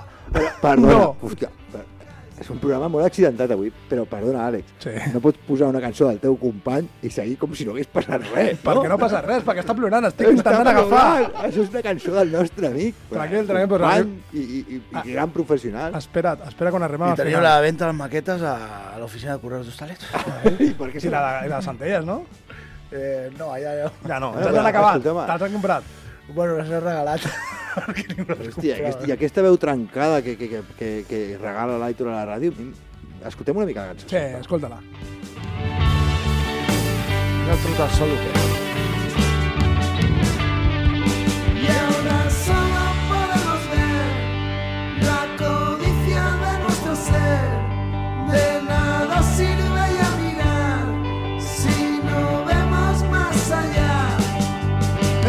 Speaker 9: Perdona,
Speaker 6: No.
Speaker 9: hòstia, per- és un programa molt accidentat avui, però perdona, Àlex,
Speaker 6: Sí.
Speaker 9: no pots posar una cançó del teu company i seguir com si no hagués passat res.
Speaker 6: Per què no passa res? Eh, Perquè està plorant, estic
Speaker 9: Està
Speaker 6: intentant agafar.
Speaker 9: plorant. Això és una cançó del nostre amic.
Speaker 6: Tranquil, tranquil, Ah. però-
Speaker 9: Company I, i, i, i gran professional.
Speaker 6: Espera't, espera quan arribem
Speaker 8: I
Speaker 6: al
Speaker 8: teniu
Speaker 6: final.
Speaker 8: la venda de maquetes a, a l'oficina de correus d'Hostalet?
Speaker 9: per
Speaker 6: Sí, la, de- la de Centelles, no?
Speaker 8: Eh, no, allà no.
Speaker 6: Ja no, ja t'han acabat, te l'han comprat.
Speaker 8: Bueno, les he regalat.
Speaker 9: Hòstia, aquest, i aquesta veu trencada que, que, que, que, que regala l'Aitor a la ràdio, escoltem una mica la cançó.
Speaker 6: Sí, escolta-la.
Speaker 8: No truca el sol, que...
Speaker 13: Y ahora solo podemos ver la codicia de nuestro ser. De nada sirve ya mirar si no vemos más allá.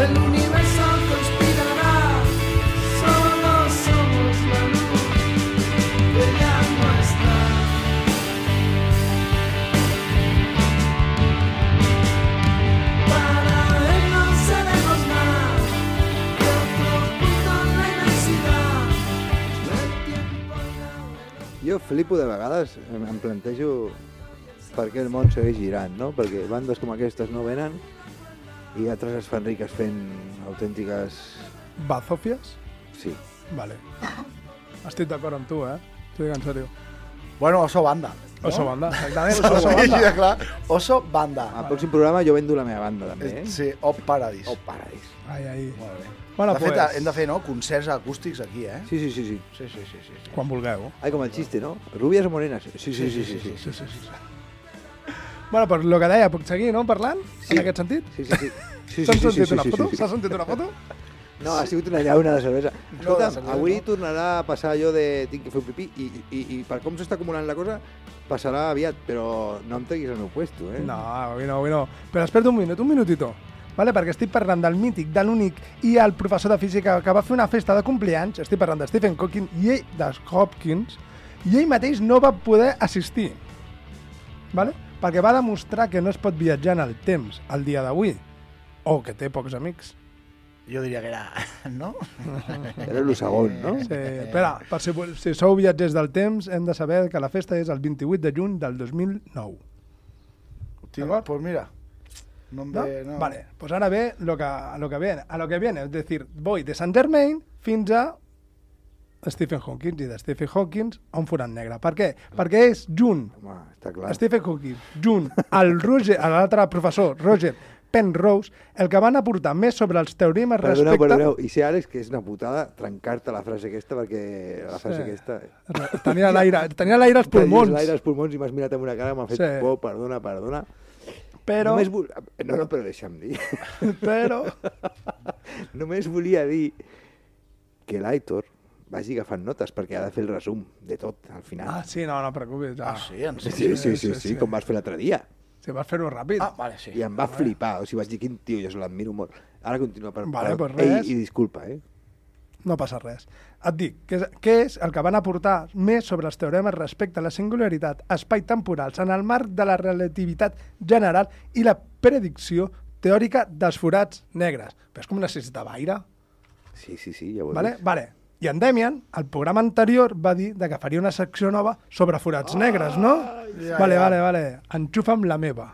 Speaker 13: El universo conspirará, solo somos la luz que ya no está. Para él no seremos más que otro punto en la inmensidad.
Speaker 9: Jo flipo de vegades, em, em plantejo per què el món segueix girant, no? Perquè bandes com aquestes no venen i altres es fan riques fent autèntiques...
Speaker 6: Bazòfies?
Speaker 9: Sí.
Speaker 6: Vale. Estic d'acord amb tu, eh? T'ho dic en sèrio.
Speaker 8: Bueno, oso banda.
Speaker 6: Oso banda, exactament,
Speaker 8: Oso,
Speaker 6: oso
Speaker 8: oso
Speaker 6: banda.
Speaker 8: banda. Ja, clar. Oso banda.
Speaker 9: Al pròxim programa jo vendo la meva banda, també, eh? Oh,
Speaker 8: Sí, Op Paradis.
Speaker 9: Op Paradis.
Speaker 6: Ai, ai. Molt
Speaker 8: bé.
Speaker 6: Bueno,
Speaker 8: de fet,
Speaker 6: pues-
Speaker 8: hem de fer, no?, concerts acústics aquí, eh?
Speaker 9: Sí, sí, sí. sí.
Speaker 8: Sí, sí, sí, sí. sí.
Speaker 6: Quan vulgueu.
Speaker 9: Ai, com el xiste, no? Rubias o morenas? Sí, sí, sí. sí, sí,
Speaker 6: sí, sí, sí. Bueno, per lo que deia, puc seguir, no?, parlant? Sí. En aquest sentit?
Speaker 9: Sí, sí, sí. Sí,
Speaker 6: S'han
Speaker 9: sí, sí,
Speaker 6: sentit
Speaker 9: sí,
Speaker 6: una
Speaker 9: sí, sí,
Speaker 6: foto?
Speaker 9: sí.
Speaker 6: S'ha sentit una foto?
Speaker 9: No, ha sigut una llauna de cervesa.
Speaker 6: de
Speaker 9: Escolta'm,
Speaker 6: cervesa,
Speaker 9: avui
Speaker 6: no?
Speaker 9: tornarà a passar allò de tinc que fer un pipí i, i, i per com s'està acumulant la cosa passarà aviat, però no em treguis el meu puesto, eh?
Speaker 6: No, avui no, avui no. Però espera't un minut, un minutito. Vale? Perquè estic parlant del mític, de l'únic i el professor de física que va fer una festa de compleanys, estic parlant de Stephen Hawking i ell, de Hopkins, i ell mateix no va poder assistir. Vale? Perquè va demostrar que no es pot viatjar en el temps al dia d'avui. O que té pocs amics.
Speaker 8: Jo diria que era... No?
Speaker 9: Era el segon, no?
Speaker 6: Sí, espera, per si, vol- si sou viatgers del temps, hem de saber que la festa és el 28 de juny del 2009.
Speaker 8: D'acord? Pues mira. No em
Speaker 6: ¿no?
Speaker 9: Eh,
Speaker 8: ve, no.
Speaker 6: Vale, pues ahora ve lo que, a lo que viene, a lo que viene, es decir, voy de Saint Germain fins a Stephen Hawking i de Stephen Hawking a un forat negre. Per què? Perquè és junt,
Speaker 9: Home, està clar.
Speaker 6: Stephen Hawking, junt al Roger, a l'altre professor, Roger Penrose, el que van aportar més sobre els teoremes
Speaker 9: Perdoneu,
Speaker 6: respecte...
Speaker 9: perdoneu. I sé, Àlex, que és una putada trencar-te la frase aquesta, perquè la frase
Speaker 6: Sí.
Speaker 9: aquesta...
Speaker 6: Tenia l'aire, tenia l'aire als pulmons.
Speaker 9: Tenies l'aire als pulmons i m'has mirat amb una cara que m'ha fet
Speaker 6: Sí.
Speaker 9: por, perdona, perdona.
Speaker 6: Però-
Speaker 9: Només vol... No, no, però deixa'm dir.
Speaker 6: Però...
Speaker 9: Només volia dir que l'Aitor vagi agafant notes, perquè ha de fer el resum de tot, al final.
Speaker 6: Ah, sí, no, no preocupis. Ah,
Speaker 8: sí, en
Speaker 9: Sí, sí, sí, sí, sí, com vas fer l'altre dia.
Speaker 6: Sí, vas fer-ho ràpid. Ah,
Speaker 8: vale, sí.
Speaker 9: I em va flipar, o sigui, vaig dir, quin tio, jo se l'admiro molt. Ara continua per...
Speaker 6: Vale,
Speaker 9: per-
Speaker 6: pues res.
Speaker 9: Ei, I disculpa, eh?
Speaker 6: no passa res. Et dic que és, que és el que van aportar més sobre els teoremes respecte a la singularitat espai-temporals en el marc de la relativitat general i la predicció teòrica dels forats negres. Però és com necessitava aire.
Speaker 9: Sí, sí, sí, ja ho he
Speaker 6: Vale?
Speaker 9: vist.
Speaker 6: Vale. I en Demian, al programa anterior, va dir de que faria una secció nova sobre forats negres, no?
Speaker 9: ja,
Speaker 6: vale,
Speaker 9: ja.
Speaker 6: vale, vale. Enxufa'm la meva.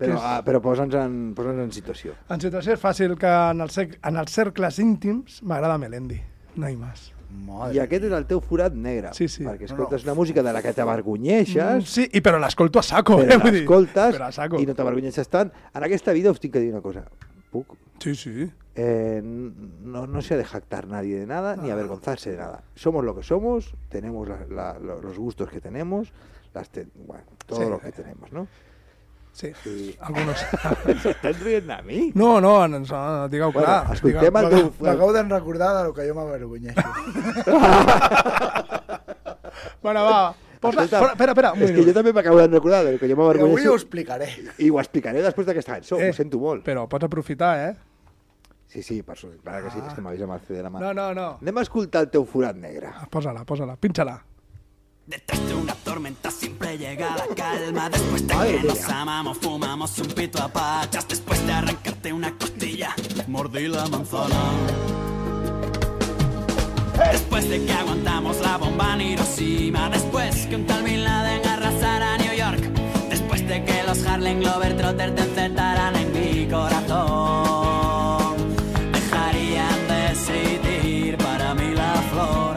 Speaker 9: Però,
Speaker 6: Que és-
Speaker 9: ah, però posa'ns en, posa en situació.
Speaker 6: En situació és fàcil que en, el cer en els cercles íntims m'agrada Melendi. No hi més.
Speaker 9: Madre I aquest és el teu forat negre. Sí, sí. Perquè escoltes no, no. una música de la que
Speaker 6: Mm,
Speaker 9: t'avergonyeixes.
Speaker 6: sí, i però l'escolto a saco,
Speaker 9: però
Speaker 6: eh? Vull dir,
Speaker 9: l'escoltes
Speaker 6: però a
Speaker 9: i no t'avergonyeixes tant. En aquesta vida us tinc que dir una cosa. Puc?
Speaker 6: Sí, sí.
Speaker 9: Eh, no, no se ha de jactar nadie de nada
Speaker 6: Ah.
Speaker 9: ni avergonzarse de nada. Somos lo que somos, tenemos la- la- lo- los gustos que tenemos, las te- bueno, todo
Speaker 6: Sí.
Speaker 9: lo que tenemos, ¿no?
Speaker 6: Sí,
Speaker 9: sí.
Speaker 6: algunos. Pues
Speaker 9: ¿Estás riendo a mí?
Speaker 6: No, no, no, no digueu
Speaker 9: Bueno,
Speaker 6: clar.
Speaker 9: escoltem
Speaker 6: digueu-
Speaker 9: el teu-
Speaker 8: M'acabo de recordar de lo que jo m'avergonyeixo.
Speaker 6: Bueno, va, posa...
Speaker 9: Pues Escolta,
Speaker 6: Pues Espera, espera, espera. un
Speaker 9: És que
Speaker 6: minut.
Speaker 9: jo també m'acabo de recordar del que jo m'avergonyo.
Speaker 6: Avui ho
Speaker 8: explicaré.
Speaker 9: I ho explicaré després d'aquesta cançó,
Speaker 6: Eh,
Speaker 9: ho sento molt.
Speaker 6: Però pots aprofitar, eh?
Speaker 9: Sí, sí, per sort, clar que sí, és que m'avís amb el CD de la mà.
Speaker 6: No, no, no. Ah,
Speaker 9: Anem a escoltar el teu forat negre.
Speaker 6: Posa-la, posa-la, pinxa-la.
Speaker 14: Detesto una tormenta, siempre llega la calma. Después de que nos amamos, fumamos un pito a pachas. Después de arrancarte una costilla, mordí la manzana. Después de que aguantamos la bomba en Hiroshima. Después que un tal Bin Laden arrasara New York. Después de que los Harlem Glover Trotter te encerraran en mi corazón. Dejarían decidir para mí la flor.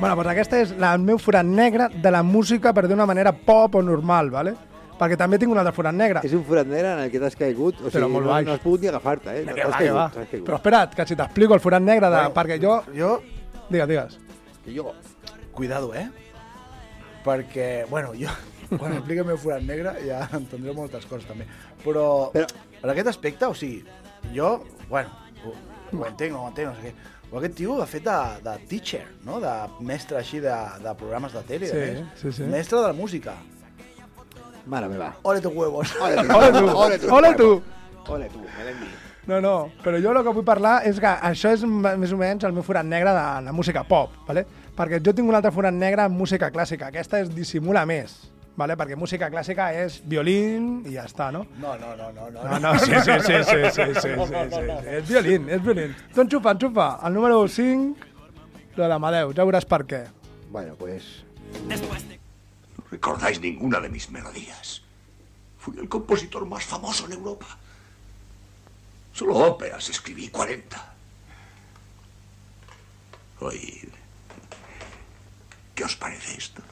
Speaker 6: Bueno, doncs aquesta és la- el meu forat negre de la música, per dir una manera pop o normal, ¿vale? Perquè també tinc un altre forat negre.
Speaker 9: És un forat negre en el que t'has caigut, o
Speaker 6: Però
Speaker 9: sigui,
Speaker 6: molt
Speaker 9: no,
Speaker 6: baix.
Speaker 9: no has pogut ni agafar-te, eh? No,
Speaker 6: Que
Speaker 9: t'has
Speaker 6: va, que va.
Speaker 9: caigut, t'has caigut.
Speaker 6: Però espera't, que si t'explico el forat negre, de, perquè jo...
Speaker 8: Jo...
Speaker 6: Digues, digues.
Speaker 9: Que jo...
Speaker 8: Cuidado, eh? Perquè, bueno, jo... Quan expliqui el meu forat negre ja entendré moltes coses, també. Però, Però... en aquest aspecte, o sigui, jo, bueno, ho, ho entenc, no ho entenc, no sé què. Però aquest tio ha fet de, de teacher, no? De mestre així de, de programes de tele.
Speaker 6: Sí,
Speaker 8: eh?
Speaker 6: sí, sí.
Speaker 8: Mestre de la música.
Speaker 9: Mare meva.
Speaker 8: Ole tu huevos.
Speaker 9: Ole
Speaker 6: Ole tu, ole tu. Ole tu.
Speaker 9: Ole tu, Melendi.
Speaker 6: No, no, però jo el que vull parlar és que això és m- més o menys el meu forat negre de la música pop, ¿vale? perquè jo tinc un altre forat negre en música clàssica, aquesta és dissimula més, ¿vale? perquè música clàssica és violín i ja està, no?
Speaker 8: No, no, no, no.
Speaker 6: No, no, sí, sí, sí, sí, sí, sí, sí, sí, sí, sí. és violín, és violín. Tu enxufa, enxufa, el número 5, lo de Amadeu, ja veuràs per què.
Speaker 9: Bueno, pues...
Speaker 12: No recordáis ninguna de mis melodías. Fui el compositor más famoso en Europa. Solo óperas escribí 40. Oíd. ¿Qué os parece esto?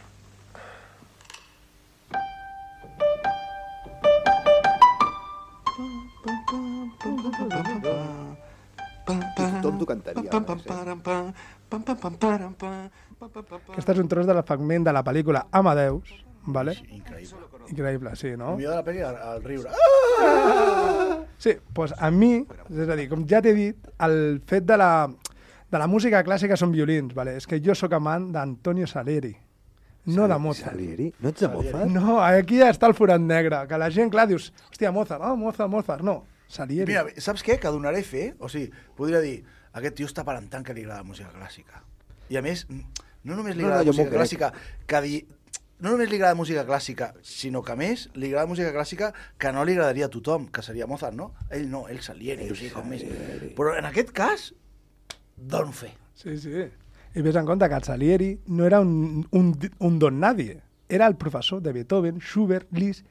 Speaker 9: I tothom t'ho cantaria.
Speaker 15: Ah. Pam, pam, param, pam, pam, pam, pam, param, pam.
Speaker 6: Aquest és un tros del fragment de la pel·lícula Amadeus, ¿vale?
Speaker 8: Increïble.
Speaker 6: Increïble, sí, no?
Speaker 8: El millor de la pel·li, el, el riure.
Speaker 6: Sí, doncs a mi, és a dir, com ja t'he dit, el fet de la, de la música clàssica són violins, vale? és que jo sóc amant d'Antonio Salieri, no de Mozart.
Speaker 9: Salieri? No ets de Mozart?
Speaker 6: No, aquí ja està el forat negre, que la gent, clar, dius, hòstia, Mozart, oh, Mozart, Mozart, no,
Speaker 8: I
Speaker 6: Salieri.
Speaker 8: mira, saps què? Que donaré fe, o sigui, podria dir, aquest tio està parentant que li agrada la música clàssica. I a més, no només li
Speaker 9: No, no,
Speaker 8: agrada
Speaker 9: jo
Speaker 8: la
Speaker 9: m'ho
Speaker 8: música
Speaker 9: crec.
Speaker 8: clàssica, que di... no només li agrada la música clàssica, sinó que a més li agrada música clàssica que no li agradaria a tothom, que seria Mozart, no? Ell no, ell Salieri, o sigui, com més. Però en aquest cas, dono fe.
Speaker 6: Sí, sí. I vés en compte que el Salieri no era un, un, un don nadie, era el professor de Beethoven, Schubert, Liszt,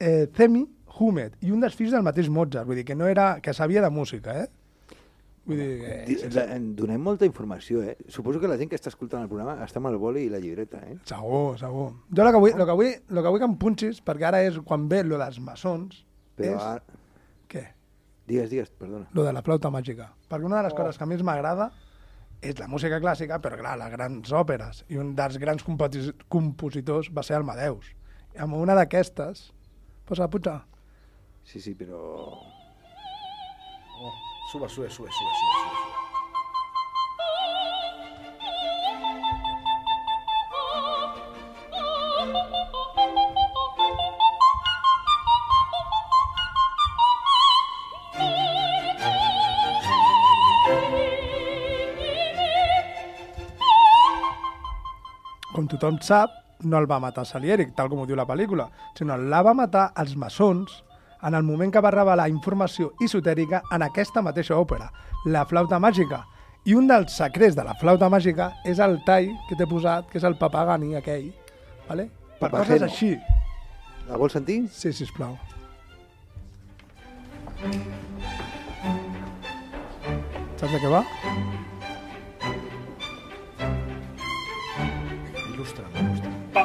Speaker 6: eh, Zemi, Humet, i un dels fills del mateix Mozart, vull dir que no era, que sabia de música, eh? Vull dir, eh, que-
Speaker 9: Di- la- Eh, en Donem molta informació, eh? Suposo que la gent que està escoltant el programa està amb el boli i la llibreta, eh?
Speaker 6: Segur, segur. Jo el que vull, el que vull, el que, vull que em punxis, perquè ara és quan ve lo dels maçons,
Speaker 9: Però
Speaker 6: és
Speaker 9: ara...
Speaker 6: Què?
Speaker 9: Digues, digues, perdona.
Speaker 6: lo de la flauta màgica. Perquè una de les coses que més m'agrada és la música clàssica, però clar, les grans òperes. I un dels grans compoti- compositors va ser Amadeus. I amb una d'aquestes, posa la puta.
Speaker 9: Sí, sí, però...
Speaker 8: Oh, sube, sube, sube, sube, sube, sube.
Speaker 13: Thank you.
Speaker 6: tothom sap, no el va matar Salieri, tal com ho diu la pel·lícula, sinó la va matar els maçons en el moment que va revelar informació esotèrica en aquesta mateixa òpera, La flauta màgica. I un dels secrets de la flauta màgica és el tall que t'he posat, que és el papagani aquell, vale? per coses
Speaker 9: Papageno.
Speaker 6: així.
Speaker 9: La vols sentir?
Speaker 6: Sí, sisplau. Saps de què va?
Speaker 8: Il·lustra, il·lustra.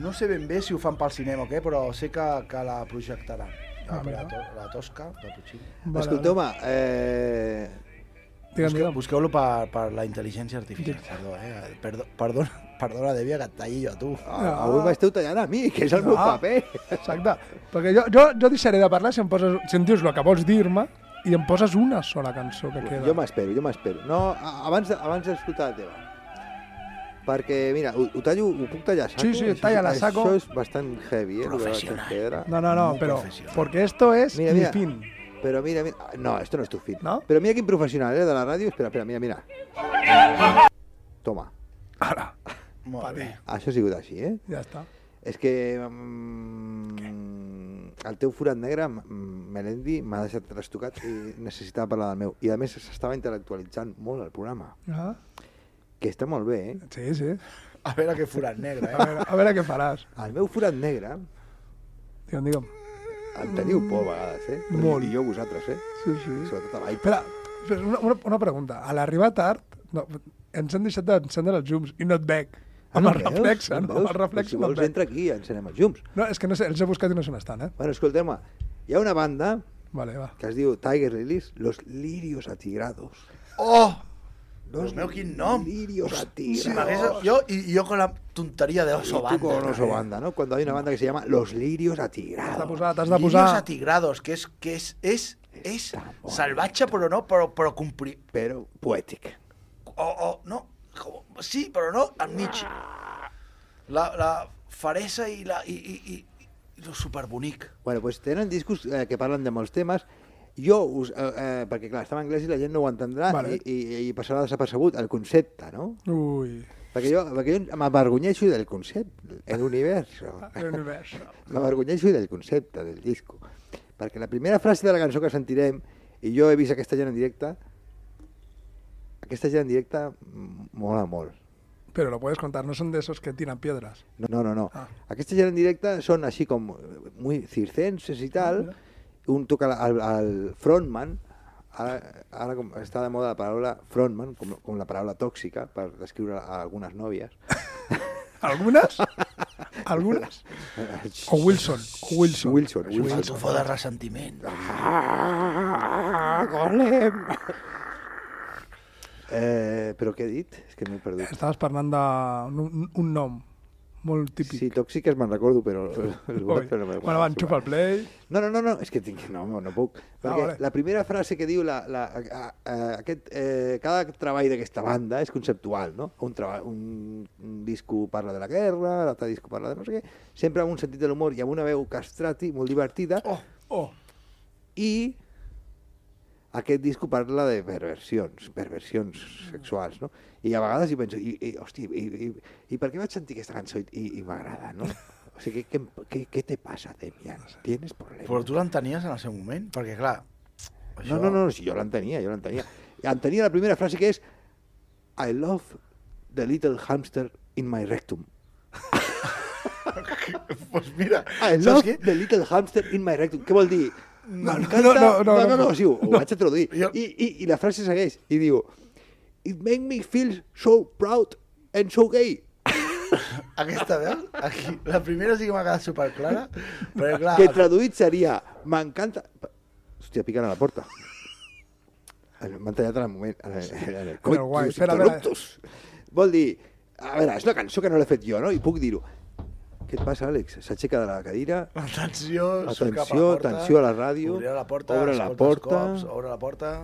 Speaker 8: no sé ben bé si ho fan pel cinema o què, però sé que, que la projectaran.
Speaker 6: Ah,
Speaker 8: La,
Speaker 6: mira.
Speaker 8: la, to, la tosca de Puccini.
Speaker 6: Vale,
Speaker 9: Escolteu, home, eh...
Speaker 8: Busqueu- Busqueu-lo per, per la intel·ligència artificial. Perdó, eh? Perdó, perdona, perdona, Devia, que et talli jo a tu.
Speaker 9: Ah, avui m'esteu tallant a mi, que és el meu paper.
Speaker 6: Exacte, perquè jo, jo, jo deixaré de parlar si em, poses, si em dius el que vols dir-me i em poses una sola cançó que queda.
Speaker 9: Jo m'espero, jo m'espero. No, a- abans, de- abans d'escoltar la teva. Perquè, mira, ho, ho tallo, ho puc tallar a saco?
Speaker 6: Sí, sí,
Speaker 9: Això-
Speaker 6: talla la saco.
Speaker 9: Això és bastant heavy, eh? Professional.
Speaker 6: No, no, no, però porque esto es mi fin.
Speaker 9: Pero mira, mira, ah, no, esto no es tu fin. ¿No? Pero mira qué profesional, ¿eh? De la radio. Espera, espera, mira, mira. Toma.
Speaker 6: Ara.
Speaker 8: Molt bé.
Speaker 9: Això ha sigut així, eh?
Speaker 6: Ja està.
Speaker 9: És que... Mm, el teu forat negre, mm, Melendi, m'ha deixat trastocat i necessitava parlar del meu. I a més s'estava intel·lectualitzant molt el programa,
Speaker 6: Ah,
Speaker 9: que està molt bé, eh?
Speaker 6: sí, sí.
Speaker 8: A veure què forat negre, eh?
Speaker 6: A veure, a veure què faràs.
Speaker 9: El meu forat negre
Speaker 6: Digue'm, digue'm.
Speaker 9: el teniu por a vegades, eh?
Speaker 6: Molt.
Speaker 9: I jo a vosaltres, eh?
Speaker 6: Sí, sí.
Speaker 9: Sobretot a l'Aipa.
Speaker 6: Espera, espera, una, una, una pregunta. A l'arribar tard, no, ens han deixat d'encendre els llums i no et veig.
Speaker 9: Ah,
Speaker 6: Amb el reflex, eh, no? Amb el reflex
Speaker 9: Doncs si
Speaker 6: no
Speaker 9: vols,
Speaker 6: et veig.
Speaker 9: entra aquí i encenem els llums.
Speaker 6: No, és que no sé, els he buscat i no se n'estan, eh?
Speaker 9: Bueno, escolteu-me, hi ha una banda
Speaker 6: vale, va.
Speaker 9: que es diu Tiger Lilies, Los Lirios Atigrados.
Speaker 8: Oh!
Speaker 9: Los
Speaker 8: Dios mío, quin nom!
Speaker 9: Lirios
Speaker 8: Si
Speaker 9: Atigrados.
Speaker 8: m'hagués- jo, i jo con la tonteria de Oso
Speaker 9: Y tú
Speaker 8: Banda. eh?
Speaker 9: con Oso Banda, ¿no? Cuando hay una banda que se llama Los Lirios Atigrados.
Speaker 6: T'has de posar, t'has de
Speaker 8: Niños
Speaker 6: posar...
Speaker 8: atigrados, que és, que és, és, és salvatge, però no, però, però complir.
Speaker 9: Però poètic.
Speaker 8: O, o, no, com, sí, però no, amb Nietzsche. La, la faresa i la... I, i, i, i lo superbonic.
Speaker 9: Bueno, pues tenen discos eh, que parlen de molts temes. Jo, us, eh, eh, perquè clar, està en anglès i la gent no ho entendrà
Speaker 6: Vale.
Speaker 9: i, i, i passarà desapercebut el concepte, no?
Speaker 6: Ui,
Speaker 9: Perquè jo, perquè jo m'avergonyeixo del concepte, el univers.
Speaker 6: l'univers.
Speaker 9: M'avergonyeixo del concepte del disco. Perquè la primera frase de la cançó que sentirem, i jo he vist aquesta gent en directe, aquesta gent en directe mm, mola molt.
Speaker 6: Pero lo puedes contar, no son de esos que tiran piedras.
Speaker 9: No, no, no. no. Aquesta gent en directe són així com muy circenses i tal. Un toca la- al, al frontman, ara, ara com està de moda la paraula frontman, com, com la paraula tòxica, per descriure a algunes nòvies.
Speaker 6: Algunes? Algunes? O Wilson, o Wilson.
Speaker 9: Wilson,
Speaker 8: Un
Speaker 9: Wilson.
Speaker 8: sofó de ressentiment.
Speaker 9: Ah, golem! Eh, però què he dit? És que m'he perdut.
Speaker 6: Estaves parlant d'un un nom molt típic.
Speaker 9: Sí, tòxiques me'n recordo, però... l'altre no me'n
Speaker 6: Bueno, va, enxufa el play.
Speaker 9: No, no, no, no, és que tinc... No, no puc. Perquè
Speaker 6: vale.
Speaker 9: la primera frase que diu la, la, a, a, aquest, eh, cada treball d'aquesta banda és conceptual, no? Un, treball, un, un disco parla de la guerra, l'altre disco parla de no sé què, sempre amb un sentit de l'humor i amb una veu castrati molt divertida. Oh,
Speaker 6: oh.
Speaker 9: I aquest disco parla de perversions, perversions sexuals, no? I a vegades hi penso, i, i hosti, i, i, i per què vaig sentir aquesta cançó i, i, i m'agrada, no? O sigui, què, què, què, què te passa, Demian? Tienes problemes?
Speaker 8: Però tu l'entenies en el seu moment? Perquè, clar... pues
Speaker 9: No, no, no, si jo l'entenia, jo l'entenia. Entenia la primera frase que és I love the little hamster in my rectum.
Speaker 8: pues mira,
Speaker 9: I
Speaker 8: saps
Speaker 9: love
Speaker 8: què?
Speaker 9: the little hamster in my rectum. Què vol dir?
Speaker 8: No,
Speaker 9: M'encanta... No, no, no, no, no,
Speaker 8: no.
Speaker 9: sí, ho, ho vaig a traduir. I, i, I la frase segueix i diu It make me feel so proud and so gay.
Speaker 8: Aquesta veu, aquí, la primera sí que m'ha quedat superclara, però clar...
Speaker 9: Que traduït seria M'encanta... Hòstia, piquen a la porta. M'ha tallat en el moment. En el, en el,
Speaker 6: Però guai, espera, espera.
Speaker 9: corruptus. Vol dir, a veure, és una cançó que no l'he fet jo, no? I puc dir-ho. Què et passa, Àlex? S'aixeca de la cadira,
Speaker 8: Atenció, surt
Speaker 9: Atenció,
Speaker 8: cap a la porta,
Speaker 9: atenció a la ràdio,
Speaker 8: Obrirà la porta,
Speaker 9: obre la
Speaker 8: escolta els
Speaker 9: porta.
Speaker 8: Cops, obre la porta.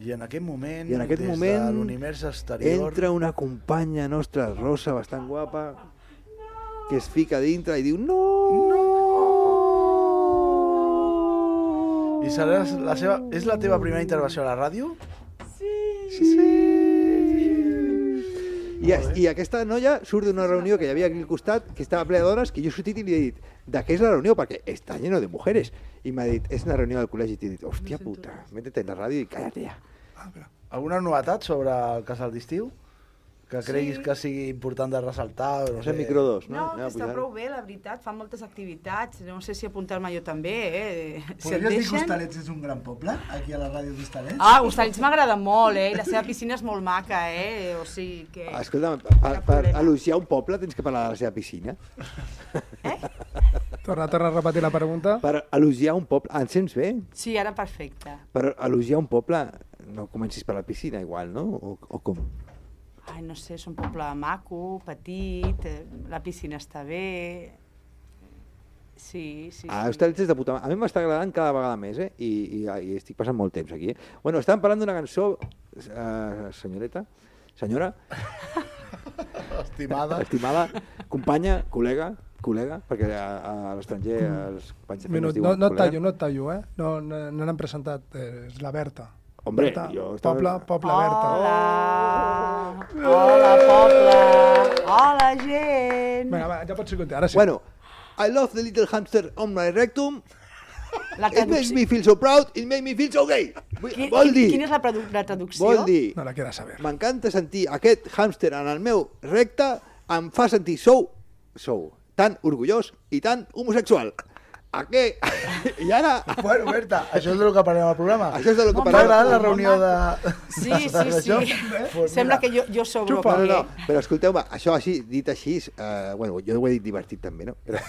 Speaker 8: I en aquest moment,
Speaker 9: I en aquest
Speaker 8: des
Speaker 9: moment
Speaker 8: de l'univers exterior,
Speaker 9: entra una companya nostra, rosa, bastant guapa, que es fica dintre i diu no!
Speaker 8: i serà la seva, és la teva primera intervenció a la ràdio?
Speaker 9: I, I aquesta noia surt d'una reunió que hi havia aquí al costat, que estava ple de dones, que jo he sortit i li he dit, de què és la reunió? Perquè està lleno de mujeres. I m'ha dit, és una reunió del col·legi. I he dit, hòstia puta, métete en la ràdio i cállate ja.
Speaker 8: Alguna novetat sobre el casal d'estiu? Que creguis que sigui important de ressaltar? o No
Speaker 9: És
Speaker 8: sé.
Speaker 9: el micro dos,
Speaker 16: No, no està prou bé, la veritat. Fan moltes activitats. No sé si apuntar-me jo també, eh? Si et
Speaker 8: Podries dir que
Speaker 16: deixen...
Speaker 8: Hostalets és un gran poble, aquí a la ràdio d'Hostalets?
Speaker 16: Ah, Hostalets m'agrada molt, eh? I La seva piscina és molt maca, eh? O sigui que...
Speaker 9: Ah, Escolta, per, per elogiar un poble tens que parlar de la seva piscina.
Speaker 16: eh?
Speaker 6: Torna, torna a repetir la pregunta.
Speaker 9: Per elogiar un poble... Ah, em sents bé?
Speaker 16: Sí, ara perfecte.
Speaker 9: Per elogiar un poble no comencis per la piscina, igual, no? O, o com?
Speaker 16: Ai, no sé, és un poble maco, petit, eh, la piscina està bé... Sí, sí, sí.
Speaker 9: Ah, Hostalets és de puta mare. A mi m'està agradant cada vegada més, eh? I, i, i estic passant molt temps aquí, eh? Bueno, estàvem parlant d'una cançó, eh, senyoreta, senyora,
Speaker 8: Estimada.
Speaker 9: estimada, companya, col·lega, col·lega, perquè a, a l'estranger els companys de feina
Speaker 6: Minut,
Speaker 9: es diuen
Speaker 6: Mm. no, no et
Speaker 9: col·lega.
Speaker 6: tallo, no et tallo, eh? No, no, no l'han presentat, eh, és la Berta.
Speaker 9: Hombre,
Speaker 6: Berta,
Speaker 9: jo estava-
Speaker 6: Poble, poble Berta.
Speaker 16: Hola! Ah, Hola, poble! Hola, gent!
Speaker 6: Vinga, va, ja pots contar, ara sí.
Speaker 9: Bueno, I love the little hamster on my rectum.
Speaker 16: La
Speaker 9: It makes me feel so proud, it makes me feel so gay. Vull-
Speaker 16: Qui-
Speaker 9: Vol
Speaker 16: qui-
Speaker 9: dir...
Speaker 16: Quina és la, produ- la traducció?
Speaker 9: Vol dir...
Speaker 6: No la quiero saber.
Speaker 9: M'encanta sentir aquest hàmster en el meu recte, em fa sentir sou, sou, tan orgullós i tan homosexual. A què? I ara...
Speaker 8: Bueno, Berta, això és del que parlem al programa.
Speaker 9: Això és del que
Speaker 8: T'ha
Speaker 9: parlem.
Speaker 8: agradat la reunió de...
Speaker 16: Sí,
Speaker 8: de-
Speaker 16: sí, sí.
Speaker 8: d'això? Pues
Speaker 16: Sembla
Speaker 8: mira.
Speaker 16: que jo, jo sobro.
Speaker 9: No, no,
Speaker 16: perquè-
Speaker 9: no, però escolteu-me, això així, dit així, eh, bueno, jo ho he dit divertit també, no? Però,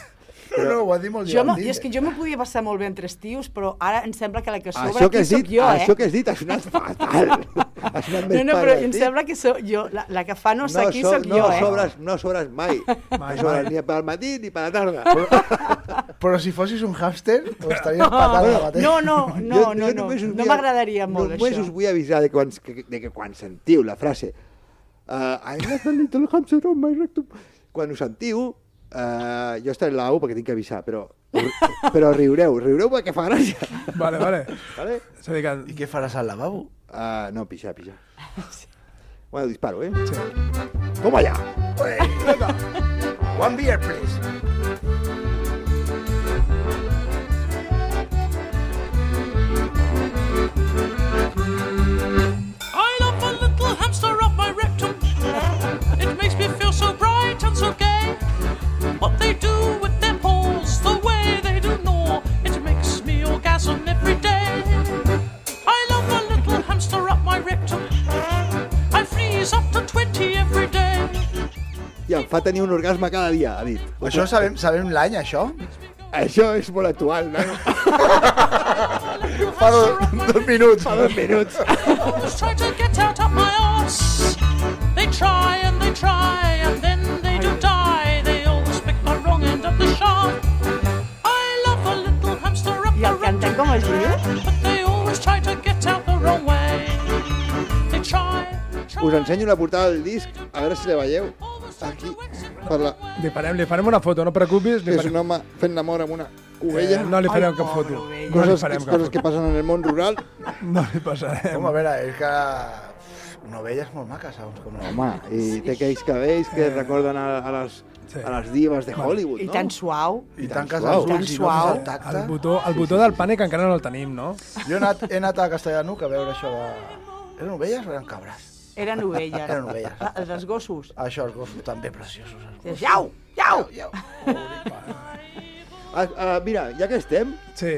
Speaker 8: No, no, ho ha dit molt
Speaker 16: Jo, me-
Speaker 8: divertit.
Speaker 16: jo és que jo m'ho podia passar molt bé entre estius, però ara em sembla que la que sobra
Speaker 9: això que
Speaker 16: aquí
Speaker 9: has
Speaker 16: sóc
Speaker 9: dit,
Speaker 16: jo, eh?
Speaker 9: això que has dit ha sonat fatal. Ha sonat més
Speaker 16: No, no, però
Speaker 9: fatal,
Speaker 16: em
Speaker 9: sí.
Speaker 16: sembla que sóc jo, la, la que fa no sé qui
Speaker 9: so-
Speaker 16: sóc
Speaker 9: no
Speaker 16: jo, eh?
Speaker 9: Sobres, no sobres mai.
Speaker 8: Mai,
Speaker 9: no sobres
Speaker 8: mai.
Speaker 9: ni pel matí ni per la tarda.
Speaker 8: Però si fossis un hàmster, ho estaries patant ara mateix.
Speaker 16: No, no, no,
Speaker 9: Jo-
Speaker 16: no,
Speaker 9: jo
Speaker 16: no,
Speaker 9: només us
Speaker 16: no
Speaker 9: vull-
Speaker 16: m'agradaria molt
Speaker 9: només
Speaker 16: això.
Speaker 9: us vull avisar de que quan, que, de que quan sentiu la frase uh, I love a little hamster on my rectum quan ho sentiu uh, jo estaré a la U perquè tinc que avisar però, però riureu, riureu perquè fa gràcia
Speaker 6: Vale, vale.
Speaker 9: vale?
Speaker 6: És a dir que...
Speaker 8: I què faràs al lavabo?
Speaker 9: Uh, no, pixar, pixar bueno, disparo, eh? Sí. Toma allà!
Speaker 8: One beer, please.
Speaker 17: I love a little hamster up my rectum. It makes me feel so bright and so gay. What they do with their paws, the way they do gnaw, it makes me orgasm every day. I love a little hamster up my rectum. I freeze up to 20 every day.
Speaker 9: i em fa tenir un orgasme cada dia, ha dit.
Speaker 8: Això sabem, sabem l'any, això?
Speaker 9: Això és molt actual, no?
Speaker 8: Fa dos, dos minuts.
Speaker 9: Fa dos minuts.
Speaker 17: Always try to get out of my arse. They try and they try and then they do die. They always pick the wrong end of the shaft. I love a little hamster up the rectum. But they always try to get out the wrong way. They try.
Speaker 9: Us ensenyo la portada del disc, a veure si la veieu. Aquí, per la...
Speaker 6: Li farem, li farem una foto, no et preocupis. Li
Speaker 9: És
Speaker 6: farem...
Speaker 9: un home fent l'amor amb una ovella.
Speaker 6: Eh, no li farem Ai, cap foto. pobra ovella. No li
Speaker 9: Coses,
Speaker 6: farem cap
Speaker 9: coses
Speaker 6: foto.
Speaker 9: que passen en el món rural.
Speaker 6: No li passarem.
Speaker 8: Home, a veure, és que... Una ovella és molt maca, segons com la...
Speaker 9: Home, i té aquells cabells
Speaker 6: Eh.
Speaker 9: que recorden a, a, les, a les divas de Hollywood,
Speaker 16: I
Speaker 9: no?
Speaker 16: tan suau.
Speaker 8: I tanques
Speaker 9: suau.
Speaker 8: els ulls i no fas el tacte.
Speaker 6: El botó, el botó del pànic encara no el tenim, no?
Speaker 8: Jo he anat, he anat a Castellanuc a veure això de... Eren ovelles o eren cabres?
Speaker 16: Eren ovelles. Ah,
Speaker 8: Eren ovelles.
Speaker 16: Els dels gossos.
Speaker 8: Això, els gossos també preciosos.
Speaker 16: Iau, iau!
Speaker 9: Ah, ah, mira, ja que estem...
Speaker 6: Sí.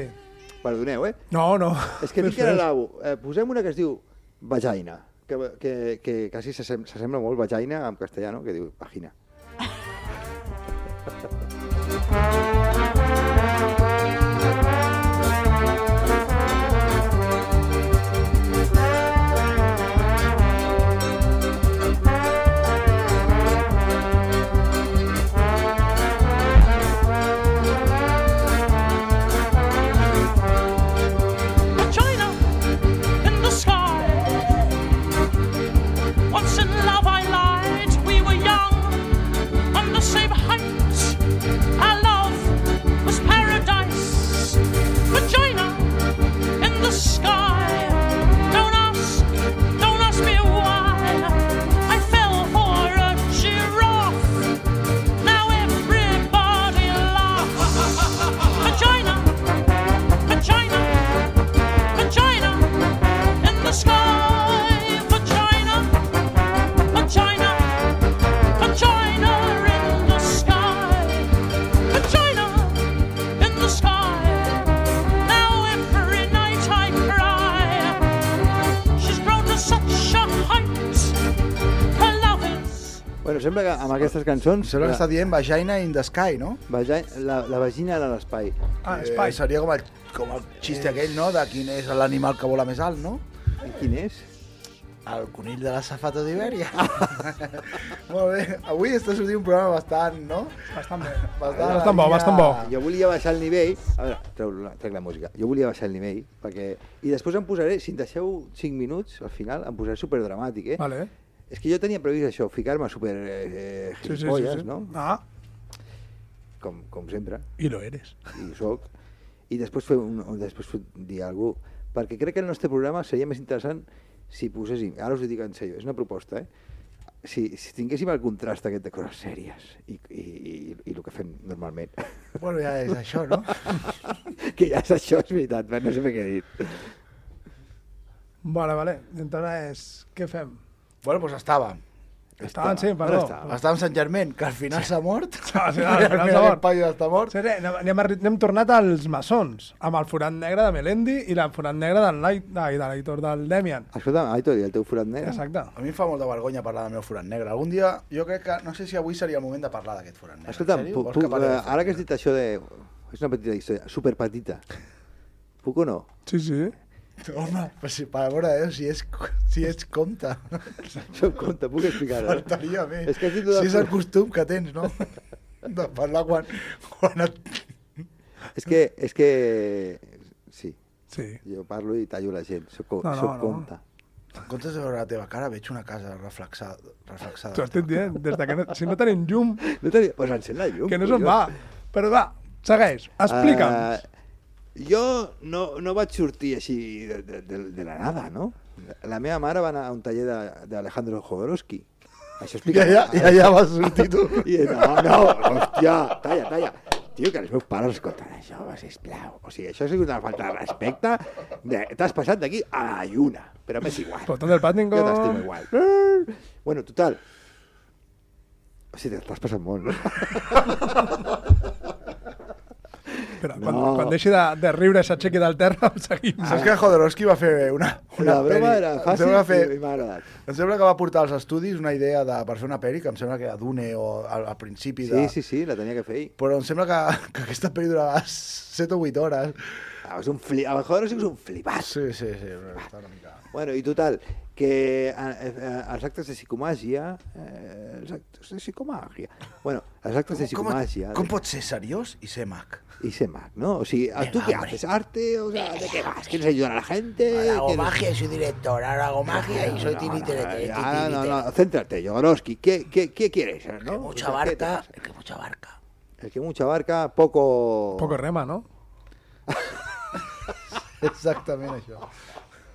Speaker 9: Perdoneu, eh?
Speaker 6: No, no.
Speaker 9: És que dic que era l'au. Eh, posem una que es diu vagina, que, que, que quasi s'assem- s'assembla molt vagina en castellà, no? Que diu vagina.
Speaker 13: Vagina,
Speaker 9: Bueno, sembla que amb aquestes cançons...
Speaker 8: Sembla que està dient Vagina in the Sky, no?
Speaker 9: la, la vagina era l'espai.
Speaker 8: Ah, espai. Eh, seria com el, com el xiste aquell, no?, de quin és l'animal que vola més alt, no?
Speaker 9: I quin és?
Speaker 8: El conill de la safata d'Ibèria. Molt bé, avui està sortint un programa bastant, no?
Speaker 9: eh.
Speaker 6: Bastant bé.
Speaker 8: Bastant,
Speaker 9: Jo volia baixar el nivell... A veure, treu la, trec la música. Jo volia baixar el nivell, perquè... I després em posaré, si em deixeu 5 minuts, al final, em posaré superdramàtic, eh?
Speaker 6: Vale.
Speaker 9: És que jo tenia previst això, ficar-me super... Eh, eh,
Speaker 6: Sí, sí, sí,
Speaker 9: gilipolles,
Speaker 6: sí.
Speaker 9: no?
Speaker 6: Ah.
Speaker 9: Com, com sempre.
Speaker 6: I lo eres.
Speaker 9: I ho soc. I després fer un, un- després fer, dir alguna cosa. Perquè crec que el nostre programa seria més interessant si poséssim... Ara us ho dic en sèrio, és una proposta, eh? Si, si tinguéssim el contrast aquest de coses sèries i, i, i, i el que fem normalment.
Speaker 8: Bueno, ja és això, no?
Speaker 9: que ja és això, és veritat, no sé per què he dit.
Speaker 6: Vale, vale. Entonces, què fem?
Speaker 8: Bueno, doncs estàvem.
Speaker 6: Estàvem, sí, perdó.
Speaker 8: Estàvem. Estàvem Sant Germain, que al final s'ha mort.
Speaker 6: Ah, sí,
Speaker 8: al final s'ha mort.
Speaker 6: està mort. Sí, sí, anem, anem, arri- anem tornat als maçons, amb el forat negre de Melendi i el forat negre del Light, ai, de l'Aitor del Demian.
Speaker 9: Escolta, Aitor, i el teu forat negre?
Speaker 6: Exacte.
Speaker 8: A mi em fa molta vergonya parlar del meu forat negre. Algun dia, jo crec que, no sé si avui seria el moment de parlar d'aquest forat negre.
Speaker 9: Escolta,
Speaker 8: En sèrio?
Speaker 9: puc,
Speaker 8: Vols
Speaker 9: puc,
Speaker 8: que parlem?
Speaker 9: eh, ara que has dit això de... És una petita història, superpetita. Puc o no?
Speaker 6: Sí, sí.
Speaker 8: Home, però si, per amor de Déu, si és, si és compte.
Speaker 9: Soc compte, puc explicar-ho. eh?
Speaker 8: Faltaria més.
Speaker 9: És que has dit
Speaker 8: si
Speaker 9: una-
Speaker 8: és el costum que tens, no? De parlar quan... quan et...
Speaker 9: És que... És que... Sí.
Speaker 6: sí.
Speaker 9: Jo parlo i tallo la gent, soc,
Speaker 8: No, no,
Speaker 9: soc
Speaker 8: no.
Speaker 9: compte.
Speaker 8: En comptes de veure la teva cara, veig una casa reflexada. reflexada.
Speaker 6: T'ho estic dient, des de que no, si no tenim llum...
Speaker 9: No tenim, pues encén la llum.
Speaker 6: Que no se'n va.
Speaker 9: collons.
Speaker 6: Però va, segueix, explica'm.
Speaker 9: Eh, jo no, no vaig sortir així de, de, de, de la nada, no? La meva mare va anar a un taller de- d'Alejandro Jodorowsky. Això explica...
Speaker 8: I allà- i allà vas sortir tu.
Speaker 9: I, no, no, hòstia, talla, talla. Tio, que els meus pares escolten això, sisplau. O sigui, això ha sigut una falta de respecte. de- T'has passat d'aquí a la lluna. Però m'és igual.
Speaker 6: Botón del Paddington.
Speaker 9: Jo t'estimo igual. Eh, Bueno, total. O sigui, t'has passat molt.
Speaker 6: Espera, quan, quan deixi de, de riure i s'aixequi del terra, el seguim.
Speaker 8: Ah.
Speaker 9: Ah.
Speaker 8: Saps que Jodorowsky va fer una... una
Speaker 9: La broma
Speaker 8: peli.
Speaker 9: era
Speaker 8: Em
Speaker 9: fàcil
Speaker 8: sembla que
Speaker 9: i m'ha agradat.
Speaker 8: Em sembla que va portar als estudis una idea de, per fer una peli, que em sembla que era Dune o al, al principi de...
Speaker 9: Sí, sí, sí, la tenia que fer ell.
Speaker 8: Però em sembla que, que aquesta peli durava 7 o 8 hores.
Speaker 9: Ah, és un flip, a Jodorowsky és un flipat.
Speaker 8: Sí, sí, sí. Està una mica...
Speaker 9: Bueno, i total, que eh, eh, els actes de psicomàgia... Eh, els actes de psicomàgia... Bueno, els actes de
Speaker 8: Com,
Speaker 9: psicomàgia...
Speaker 8: com pot ser seriós i ser mag?
Speaker 9: I ser mag, ¿no? O sea, ¿tú qué haces? ¿Arte? O sea, ¿de qué vas? ¿Quieres ayudar a la gente?
Speaker 4: Hago
Speaker 9: ¿Quieres-
Speaker 4: magia y soy director, ahora hago magia y soy
Speaker 9: No,
Speaker 4: tiri
Speaker 9: no,
Speaker 4: tiri,
Speaker 9: no,
Speaker 4: tiri,
Speaker 9: ya,
Speaker 4: tiri,
Speaker 9: no,
Speaker 4: tiri.
Speaker 9: no, céntrate, Jodorowsky. ¿Qué, qué, qué quieres? eh, ¿no?
Speaker 4: Que
Speaker 9: O
Speaker 4: mucha
Speaker 9: sea, ¿qué te
Speaker 4: barca,
Speaker 9: pasa?
Speaker 4: que mucha barca.
Speaker 9: El que mucha barca, poco...
Speaker 6: Poco rema, ¿no?
Speaker 8: Exactament això.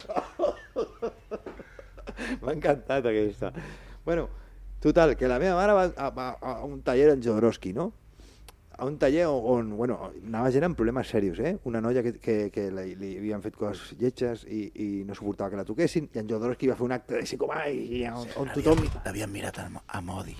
Speaker 9: M'ha encantat aquesta. Bueno, total, que la meva mare va a, va a un taller en Jodorowsky, no? A un taller on, on bueno, anava gent amb problemes serios, eh? Una noia que, que, que li, li havien fet coses lletges i, i no suportava que la toquessin, i en Jodorowsky va fer un acte de psicomàgia on, on tothom...
Speaker 8: T'havien mirat amb, amb odi.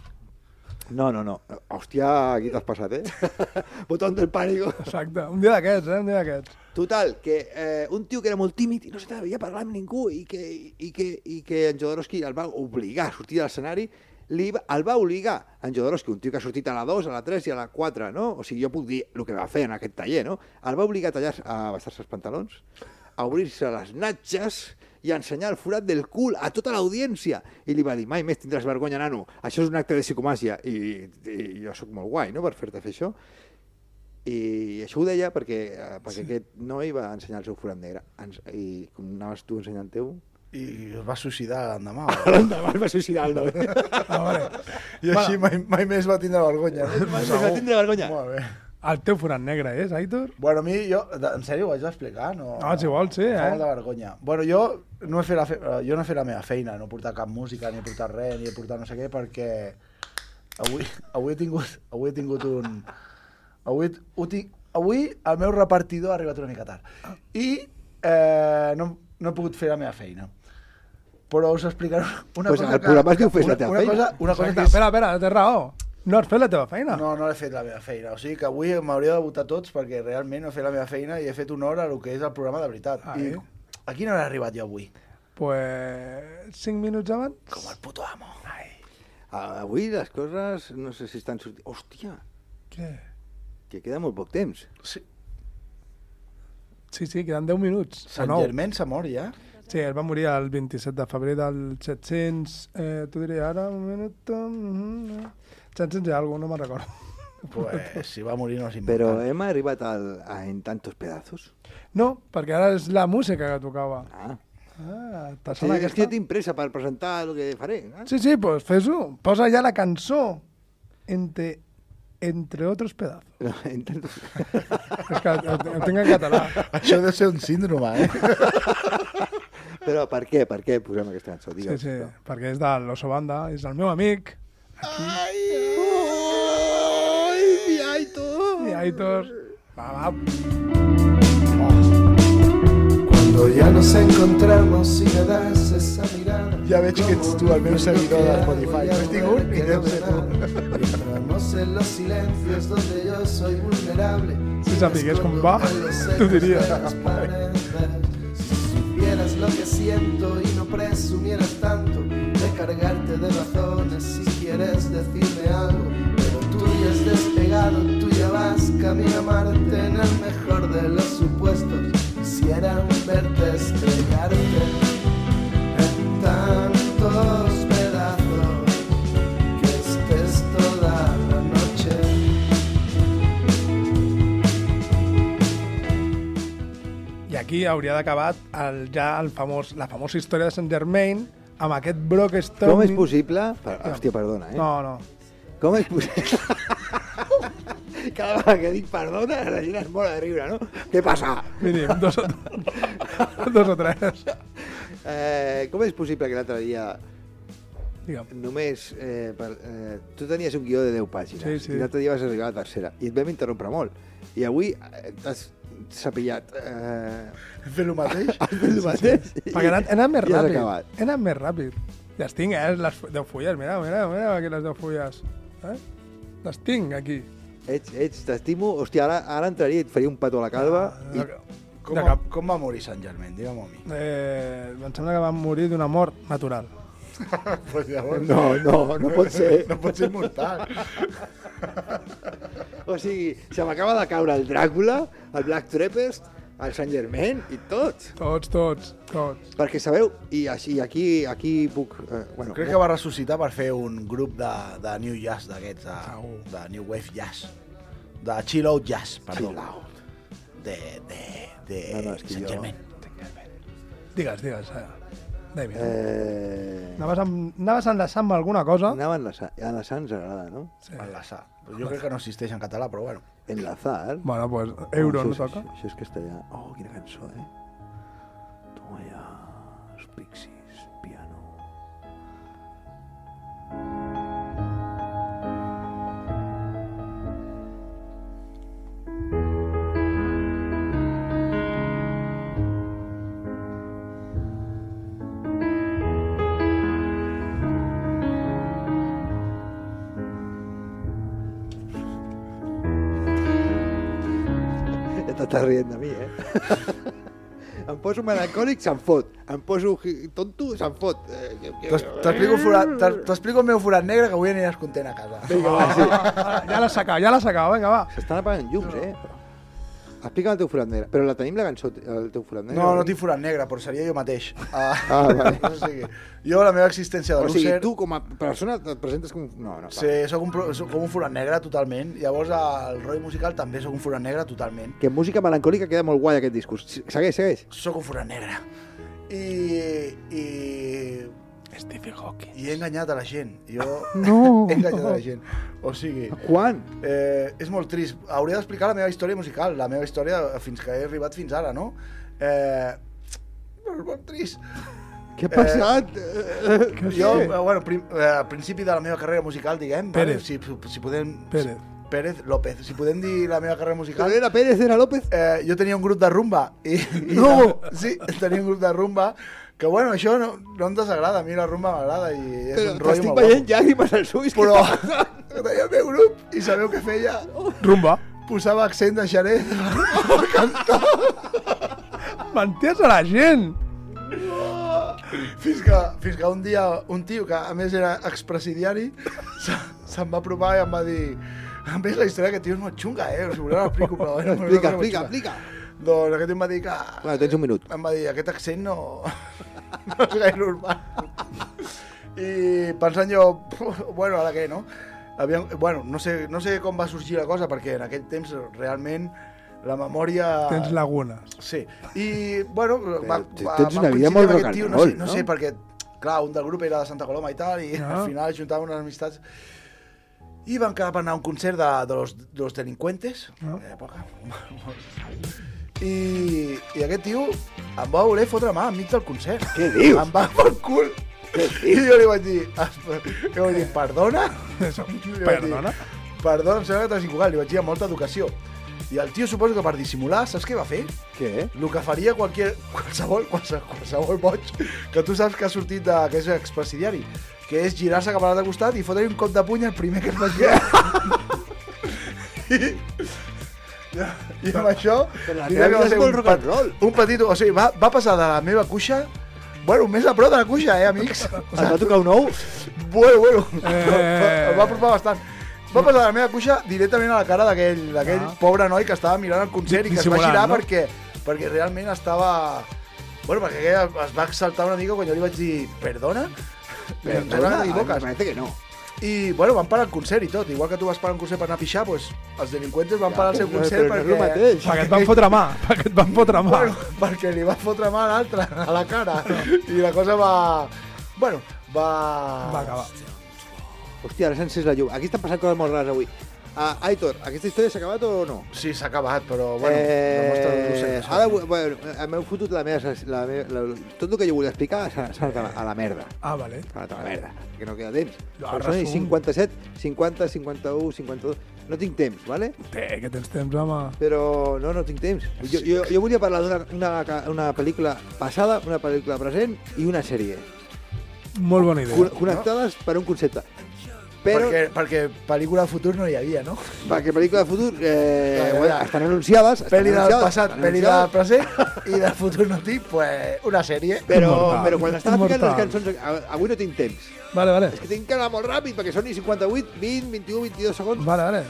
Speaker 9: No, no, no. Hòstia, aquí t'has passat, eh? Botón del pànico.
Speaker 6: Exacte. Un dia d'aquests, eh? Un dia d'aquests.
Speaker 9: Total, que eh, un tio que era molt tímid i no s'atrevia a parlar amb ningú i que, i que, i que en Jodorowsky el va obligar a sortir de l'escenari, li va, el va obligar en Jodorowsky, un tio que ha sortit a la 2, a la 3 i a la 4, no? O sigui, jo puc dir el que va fer en aquest taller, no? El va obligar a tallar, a bastar-se els pantalons, a obrir-se les natges i a ensenyar el forat del cul a tota l'audiència. I li va dir, mai més tindràs vergonya, nano, això és un acte de psicomàgia. I, i jo sóc molt guai, no?, per fer-te fer això. I això ho deia perquè, eh, perquè sí. aquest noi va ensenyar el seu forat negre. Ens, I com anaves tu a ensenyar el teu...
Speaker 8: I es va suïcidar l'endemà.
Speaker 9: L'endemà es va suïcidar el noi.
Speaker 8: I així mai, mai més va tindre vergonya.
Speaker 9: Mai més va tindre vergonya.
Speaker 8: Molt bé.
Speaker 6: El teu forat negre és, Aitor?
Speaker 8: Bueno, a mi, jo, de- en sèrio, ho haig d'explicar? No,
Speaker 6: No, si vols, sí,
Speaker 8: em fa
Speaker 6: eh?
Speaker 8: molta vergonya. Bueno, jo no, he fet la fe... eh, jo no he fet la meva feina, no he portat cap música, ni he portat res, ni he portat no sé què, perquè avui, avui he tingut, avui he tingut un... Avui, ho tinc... avui el meu repartidor ha arribat una mica tard. I eh, no, no he pogut fer la meva feina. Però us explicaré una
Speaker 9: Pues
Speaker 8: cosa...
Speaker 9: el
Speaker 8: que-
Speaker 9: programa es
Speaker 8: que-
Speaker 9: diu Fes la
Speaker 8: una-
Speaker 9: teva
Speaker 8: una
Speaker 9: feina.
Speaker 8: cosa- Una cosa
Speaker 6: Exacte.
Speaker 8: que és
Speaker 6: Espera, espera, té raó. No has fet la teva feina.
Speaker 8: no, no he fet la meva feina. O sigui que avui m'hauria de votar tots perquè realment no he fet la meva feina i he fet honor a lo que és el programa de veritat.
Speaker 6: Ah,
Speaker 8: I
Speaker 6: eh?
Speaker 8: a quina hora he arribat jo avui?
Speaker 6: Pues... 5 minuts abans?
Speaker 8: Com el puto amo.
Speaker 9: Avui les coses no sé si estan sortint... Hòstia!
Speaker 6: Què?
Speaker 9: Que queda molt poc temps.
Speaker 8: Sí.
Speaker 6: Sí, sí, queden 10 minuts. o
Speaker 8: Sant
Speaker 6: nou.
Speaker 8: Germain s'ha mort ja.
Speaker 6: Sí, ell va morir el 27 de febrer del 700... Eh, T'ho diré ara, un minut... mm, eh, 700 i alguna no me'n recordo.
Speaker 8: Pues si va morir no és important.
Speaker 9: Però hem arribat al, a en tantos pedazos.
Speaker 6: No, perquè ara és la música que tocava.
Speaker 9: Ah.
Speaker 6: Ah, t'ha
Speaker 9: Sí,
Speaker 6: sonat
Speaker 9: és que
Speaker 6: aquesta?
Speaker 9: jo tinc pressa per presentar el que faré. Eh?
Speaker 6: Sí, sí, pues fes-ho. Posa ja la cançó. Entre, entre otros pedazos.
Speaker 9: No, en tantos...
Speaker 6: És que ho, ho tinc en català.
Speaker 8: Això deu ser un síndrome, eh?
Speaker 9: Però per què? Per què posem aquesta cançó?
Speaker 6: Sí,
Speaker 9: Digue'm.
Speaker 6: sí, perquè és de l'Oso Banda, és el meu amic.
Speaker 9: Ai, mi Aitor.
Speaker 6: Mi Aitor. Va, va.
Speaker 13: Cuando ya nos encontramos si me das esa mirada.
Speaker 8: Ja veig que ets tu el meu seguidor de Spotify. Només tinc un i deu ser tu.
Speaker 13: Entramos en los silencios donde yo soy vulnerable.
Speaker 6: Si sapigués com va, t'ho diria.
Speaker 13: supieras lo que siento y no presumieras tanto de cargarte de razones si quieres decirme algo. Pero tú ya has despegado, tú ya vas camino a Marte en el mejor de los supuestos. Quisiera verte estrellarte en tantos pedazos que estés toda la noche.
Speaker 6: I aquí hauria d'acabar el, ja el famós, la famosa història de Sant Germain amb aquest Brock Stone.
Speaker 9: Com és possible... Per... Hòstia, perdona, eh?
Speaker 6: No, no.
Speaker 9: Com és possible... Cada vegada que dic perdona, la gent es mora de riure, no? Què passa?
Speaker 6: Mínim, dos o, dos o tres.
Speaker 9: Eh, com és possible que l'altre dia
Speaker 6: Digue'm.
Speaker 9: només... Eh, per, eh, tu tenies un guió de 10 pàgines
Speaker 6: Sí, sí.
Speaker 9: i l'altre dia vas arribar a la tercera i et vam interrompre molt i avui eh, t'has s'ha pillat... Eh...
Speaker 8: Fer el mateix?
Speaker 9: Has fet el mateix?
Speaker 6: Perquè he anat, he anat més
Speaker 9: I has
Speaker 6: ràpid.
Speaker 9: acabat.
Speaker 6: He anat més ràpid. Les tinc, eh? Les fu- deu fulles, mira, mira, mira aquí les deu fulles. Eh? Les tinc aquí.
Speaker 9: Ets, ets, t'estimo. Hòstia, ara, ara entraria i et faria un petó a la calva. i...
Speaker 6: Ah,
Speaker 8: Com,
Speaker 6: De
Speaker 8: va,
Speaker 6: cap.
Speaker 8: com va morir Sant Germain? Digue'm a mi.
Speaker 6: Eh, em sembla que van morir d'una mort natural.
Speaker 8: pues llavors...
Speaker 9: No, no, no pot ser.
Speaker 8: No pot ser mortal.
Speaker 9: O sigui, se m'acaba de caure el Dràcula, el Black Trapest, el Sant Germain i tots.
Speaker 6: Tots, tots, tots.
Speaker 9: Perquè sabeu, i així, aquí, aquí puc... Eh, bueno,
Speaker 8: Crec que va ressuscitar per fer un grup de, de New Jazz d'aquests, de, de New Wave Jazz. De Chill Out Jazz, perdó.
Speaker 9: Chill
Speaker 8: De, de, de
Speaker 9: No, no, és que
Speaker 8: Eh, Sant
Speaker 9: jo-
Speaker 8: Germain.
Speaker 6: Digues, digues. Eh? David.
Speaker 9: Eh...
Speaker 6: Anaves, amb, anaves enlaçant amb alguna cosa? Eh,
Speaker 9: Anava a enlaçar. Enlaçar ens agrada, no?
Speaker 6: Sí.
Speaker 8: Enlaçar. Jo crec que no existeix en català, però bueno.
Speaker 9: Enlazar. Oh,
Speaker 6: Bueno, pues euro, no
Speaker 9: això,
Speaker 6: toca?
Speaker 9: Això, això és castellà. Oh, quina cançó, eh? Toma ja, els pixies, piano... Ja t'estàs rient de mi, eh? em poso melancòlic, se'n fot. Em poso hi- tonto, se'n fot. Eh, jo- jo-
Speaker 8: T'es- T'explico el forat- t'es- t'explico el meu forat negre que avui aniràs content a casa.
Speaker 9: eh. Vinga, va, sí.
Speaker 6: Ja l'has sacat, ja l'has sacat, vinga, va.
Speaker 9: S'estan apagant llums, eh? Explica'm el teu forat negre. Però la tenim, la cançó, el teu forat negre?
Speaker 8: No, no tinc forat negre, però seria jo mateix. Ah,
Speaker 9: Ah, vale.
Speaker 8: o sigui, jo la meva existència de
Speaker 9: O sigui,
Speaker 8: loser-
Speaker 9: tu com a persona et presentes com... No, no, va.
Speaker 8: Sí, sóc un, pro- sóc com un forat negre totalment. Llavors, al rotllo musical també sóc un forat negre totalment.
Speaker 9: Que en música melancòlica queda molt guai aquest discurs. Sí, Segueix, segueix.
Speaker 8: Sóc un forat negre. I... i... Stephen Hawking. I he enganyat a la gent. Jo
Speaker 9: No.
Speaker 8: he enganyat a la gent. O sigui...
Speaker 9: Quan?
Speaker 8: Eh, és molt trist. Hauria d'explicar la meva història musical, la meva història fins que he arribat fins ara, no? Eh, però és molt trist.
Speaker 9: Què ha passat? Eh,
Speaker 8: Eh, jo, eh, bueno, prim, eh, al principi de la meva carrera musical, diguem,
Speaker 6: Pérez.
Speaker 8: si, si podem...
Speaker 6: Pérez.
Speaker 8: Pérez López. Si podem dir la meva carrera musical...
Speaker 9: Però era Pérez, era López.
Speaker 8: Eh, jo tenia un grup de rumba. I, i
Speaker 9: No!
Speaker 8: Sí, tenia un grup de rumba que, bueno, això no, no em desagrada. A mi la rumba m'agrada i és
Speaker 9: Però
Speaker 8: un rotllo
Speaker 9: t'estic
Speaker 8: molt
Speaker 9: veient
Speaker 8: guapo.
Speaker 9: llàgrimes als ulls.
Speaker 8: Però
Speaker 9: Però...
Speaker 8: tenia el meu grup i sabeu què feia?
Speaker 6: Rumba.
Speaker 8: Posava accent de xaret per cantar.
Speaker 6: Menties a la gent.
Speaker 8: Fins que, fins que un dia un tio, que a més era expresidiari, se- se'm va apropar i em va dir... A més, la història d'aquest tio és molt xunga, eh? Si voleu l'explico, però... Bueno,
Speaker 9: Explica,
Speaker 8: és molt
Speaker 9: explica,
Speaker 8: xunga.
Speaker 9: explica.
Speaker 8: Doncs aquest tio em va dir que...
Speaker 9: Bueno, tens un minut.
Speaker 8: Em va dir, aquest accent no... no és gaire urbà. I pensant jo, "Puf, bueno, ara què, no? Havíem, bueno, no sé, no sé com va sorgir la cosa, perquè en aquell temps realment la memòria...
Speaker 6: Tens lagunes.
Speaker 8: Sí, i bueno, va,
Speaker 9: tu
Speaker 8: va,
Speaker 9: tens
Speaker 8: va
Speaker 9: una vida
Speaker 8: coincidir
Speaker 9: molt
Speaker 8: amb aquest
Speaker 9: rock and
Speaker 8: tio, no,
Speaker 9: roll,
Speaker 8: sé, no?
Speaker 9: no?
Speaker 8: sé, perquè, clar, un del grup era de Santa Coloma i tal, i
Speaker 9: No.
Speaker 8: al final juntaven unes amistats... I van quedar per anar a un concert de, de, los, de los delincuentes, no.
Speaker 6: No.
Speaker 8: de l'època. I, I aquest tio em va voler fotre mà enmig del concert. Què
Speaker 9: dius?
Speaker 8: Em va pel cul. I jo li vaig dir, "Espe- li vaig dir perdona? Li vaig dir,
Speaker 6: Perdona?
Speaker 8: Perdona, em sembla que t'has equivocat. Li vaig dir amb molta educació. I el tio suposo que per dissimular, saps què va fer?
Speaker 9: Què?
Speaker 8: El que faria qualquier, qualsevol, qualsevol, qualsevol boig que tu saps que ha sortit de, que és expresidiari, que és girar-se cap a l'altre costat i fotre un cop de puny al primer que es va girar. I, i amb això...
Speaker 9: Però la
Speaker 8: diré
Speaker 9: teva
Speaker 8: que va
Speaker 9: vida és
Speaker 8: ser
Speaker 9: molt rock and
Speaker 8: pet-
Speaker 9: roll.
Speaker 8: Un petit... O sigui, va, va passar de la meva cuixa Bueno, més a prop de la cuixa, eh, amics? O
Speaker 9: Et va tocar un ou?
Speaker 8: Bueno, bueno.
Speaker 9: Eh.
Speaker 8: Eh... Va apropar bastant. Va passar de la meva cuixa directament a la cara d'aquell d'aquell
Speaker 9: Ah.
Speaker 8: pobre noi que estava mirant el concert i que es va
Speaker 9: Dissimulant,
Speaker 8: girar
Speaker 9: no?
Speaker 8: perquè, perquè realment estava... Bueno, perquè aquell es va exaltar una mica quan jo li vaig dir «Perdona?»
Speaker 9: Perdona,
Speaker 8: que t'equivoques.
Speaker 9: me parece que no.
Speaker 8: I, bueno, van parar el concert i tot. Igual que tu vas parar un concert per anar a pixar, doncs els delinqüentes van parar el seu
Speaker 9: però-
Speaker 8: concert
Speaker 9: però no és
Speaker 8: perquè...
Speaker 9: el mateix.
Speaker 6: Perquè et van fotre mà, perquè et van fotre mà.
Speaker 8: Bueno, perquè li va fotre mà a l'altre, a la cara. I la cosa va... Bueno, va...
Speaker 6: Va acabar.
Speaker 9: Hòstia, ara s'ha encès la llum. Aquí estan passant coses molt rares avui. Ah, Aitor, aquesta història s'ha acabat o no?
Speaker 8: Sí, s'ha acabat, però bueno, demostra el teu sentit.
Speaker 9: Eh, ara, vu- bueno, eh, m'heu fotut la meva, la meva la, tot el que jo volia explicar s'ha s'ha anat a la, a la merda.
Speaker 6: Ah, vale.
Speaker 9: S'ha anat a la merda, que no queda temps.
Speaker 6: No,
Speaker 9: Però són
Speaker 6: resum.
Speaker 9: 57, 50, 51, 52... No tinc temps, vale?
Speaker 6: Té, que tens temps, home.
Speaker 9: Però no, no tinc temps. Jo, jo, jo volia parlar d'una una, ca- una pel·lícula passada, una pel·lícula present i una sèrie.
Speaker 6: Molt bona idea.
Speaker 9: Con- Connectades per un concepte. Però...
Speaker 8: Perquè, perquè pel·lícula de futur no hi havia, no?
Speaker 9: Perquè pel·lícula de futur, eh, bueno, estan anunciades. Estan
Speaker 8: Pel·li del
Speaker 9: anunciades,
Speaker 8: passat,
Speaker 9: estan
Speaker 8: pel·li del
Speaker 9: anunciades.
Speaker 8: present i del futur no tinc, pues, una sèrie.
Speaker 9: Però, però quan estava ficant les
Speaker 8: Immortal.
Speaker 9: cançons... a- Avui no tinc temps.
Speaker 6: Vale, vale.
Speaker 9: És que tinc que anar molt ràpid, perquè són i 58, 20, 21, 22 segons.
Speaker 6: Vale, vale.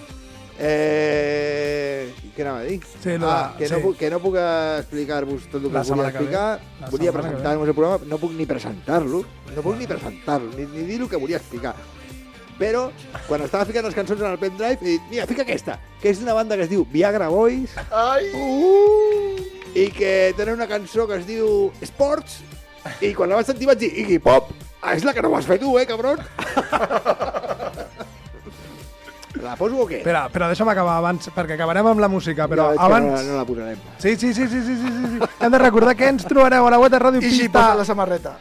Speaker 9: Eh, què anava a dir?
Speaker 6: Sí, no,
Speaker 9: ah, que, no
Speaker 6: sí.
Speaker 9: puc, que no puc explicar-vos tot el
Speaker 6: La
Speaker 9: que volia
Speaker 6: setmana que ve.
Speaker 9: explicar.
Speaker 6: La
Speaker 9: Volia
Speaker 6: setmana que
Speaker 9: presentar-vos el programa, no puc ni presentar-lo, no puc ni presentar-lo, ni, ni dir el que volia explicar. Però, quan estava ficant les cançons en el pendrive, he dit, mira, fica aquesta, que és d'una banda que es diu Viagra Boys,
Speaker 8: Ai!
Speaker 9: Uh! I que tenen una cançó que es diu Sports, i quan la vaig sentir vaig dir, Iggy Pop, ah, és la que no vas fer tu, eh, cabron? la poso o què?
Speaker 6: Espera, però deixa'm acabar abans, perquè acabarem amb la música, però
Speaker 9: Ja veig que
Speaker 6: abans...
Speaker 9: No, no la posarem.
Speaker 6: Sí, sí, sí, sí, sí, sí, sí, sí. Hem de recordar que ens trobareu a la web de Ràdio
Speaker 8: I si
Speaker 6: Pista,
Speaker 8: posa la samarreta.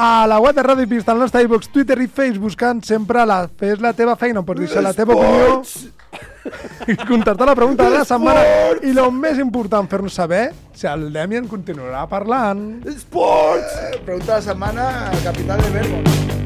Speaker 6: a la web de Ràdio Pista, al nostre iVox, Twitter i Facebook, buscant sempre la Fes la teva feina, on pots deixar la teva opinió, contestar la pregunta de la setmana i el més important, fer-nos saber si el Demian continuarà parlant.
Speaker 9: Esports!
Speaker 8: Pregunta de la setmana, capital de Verbo.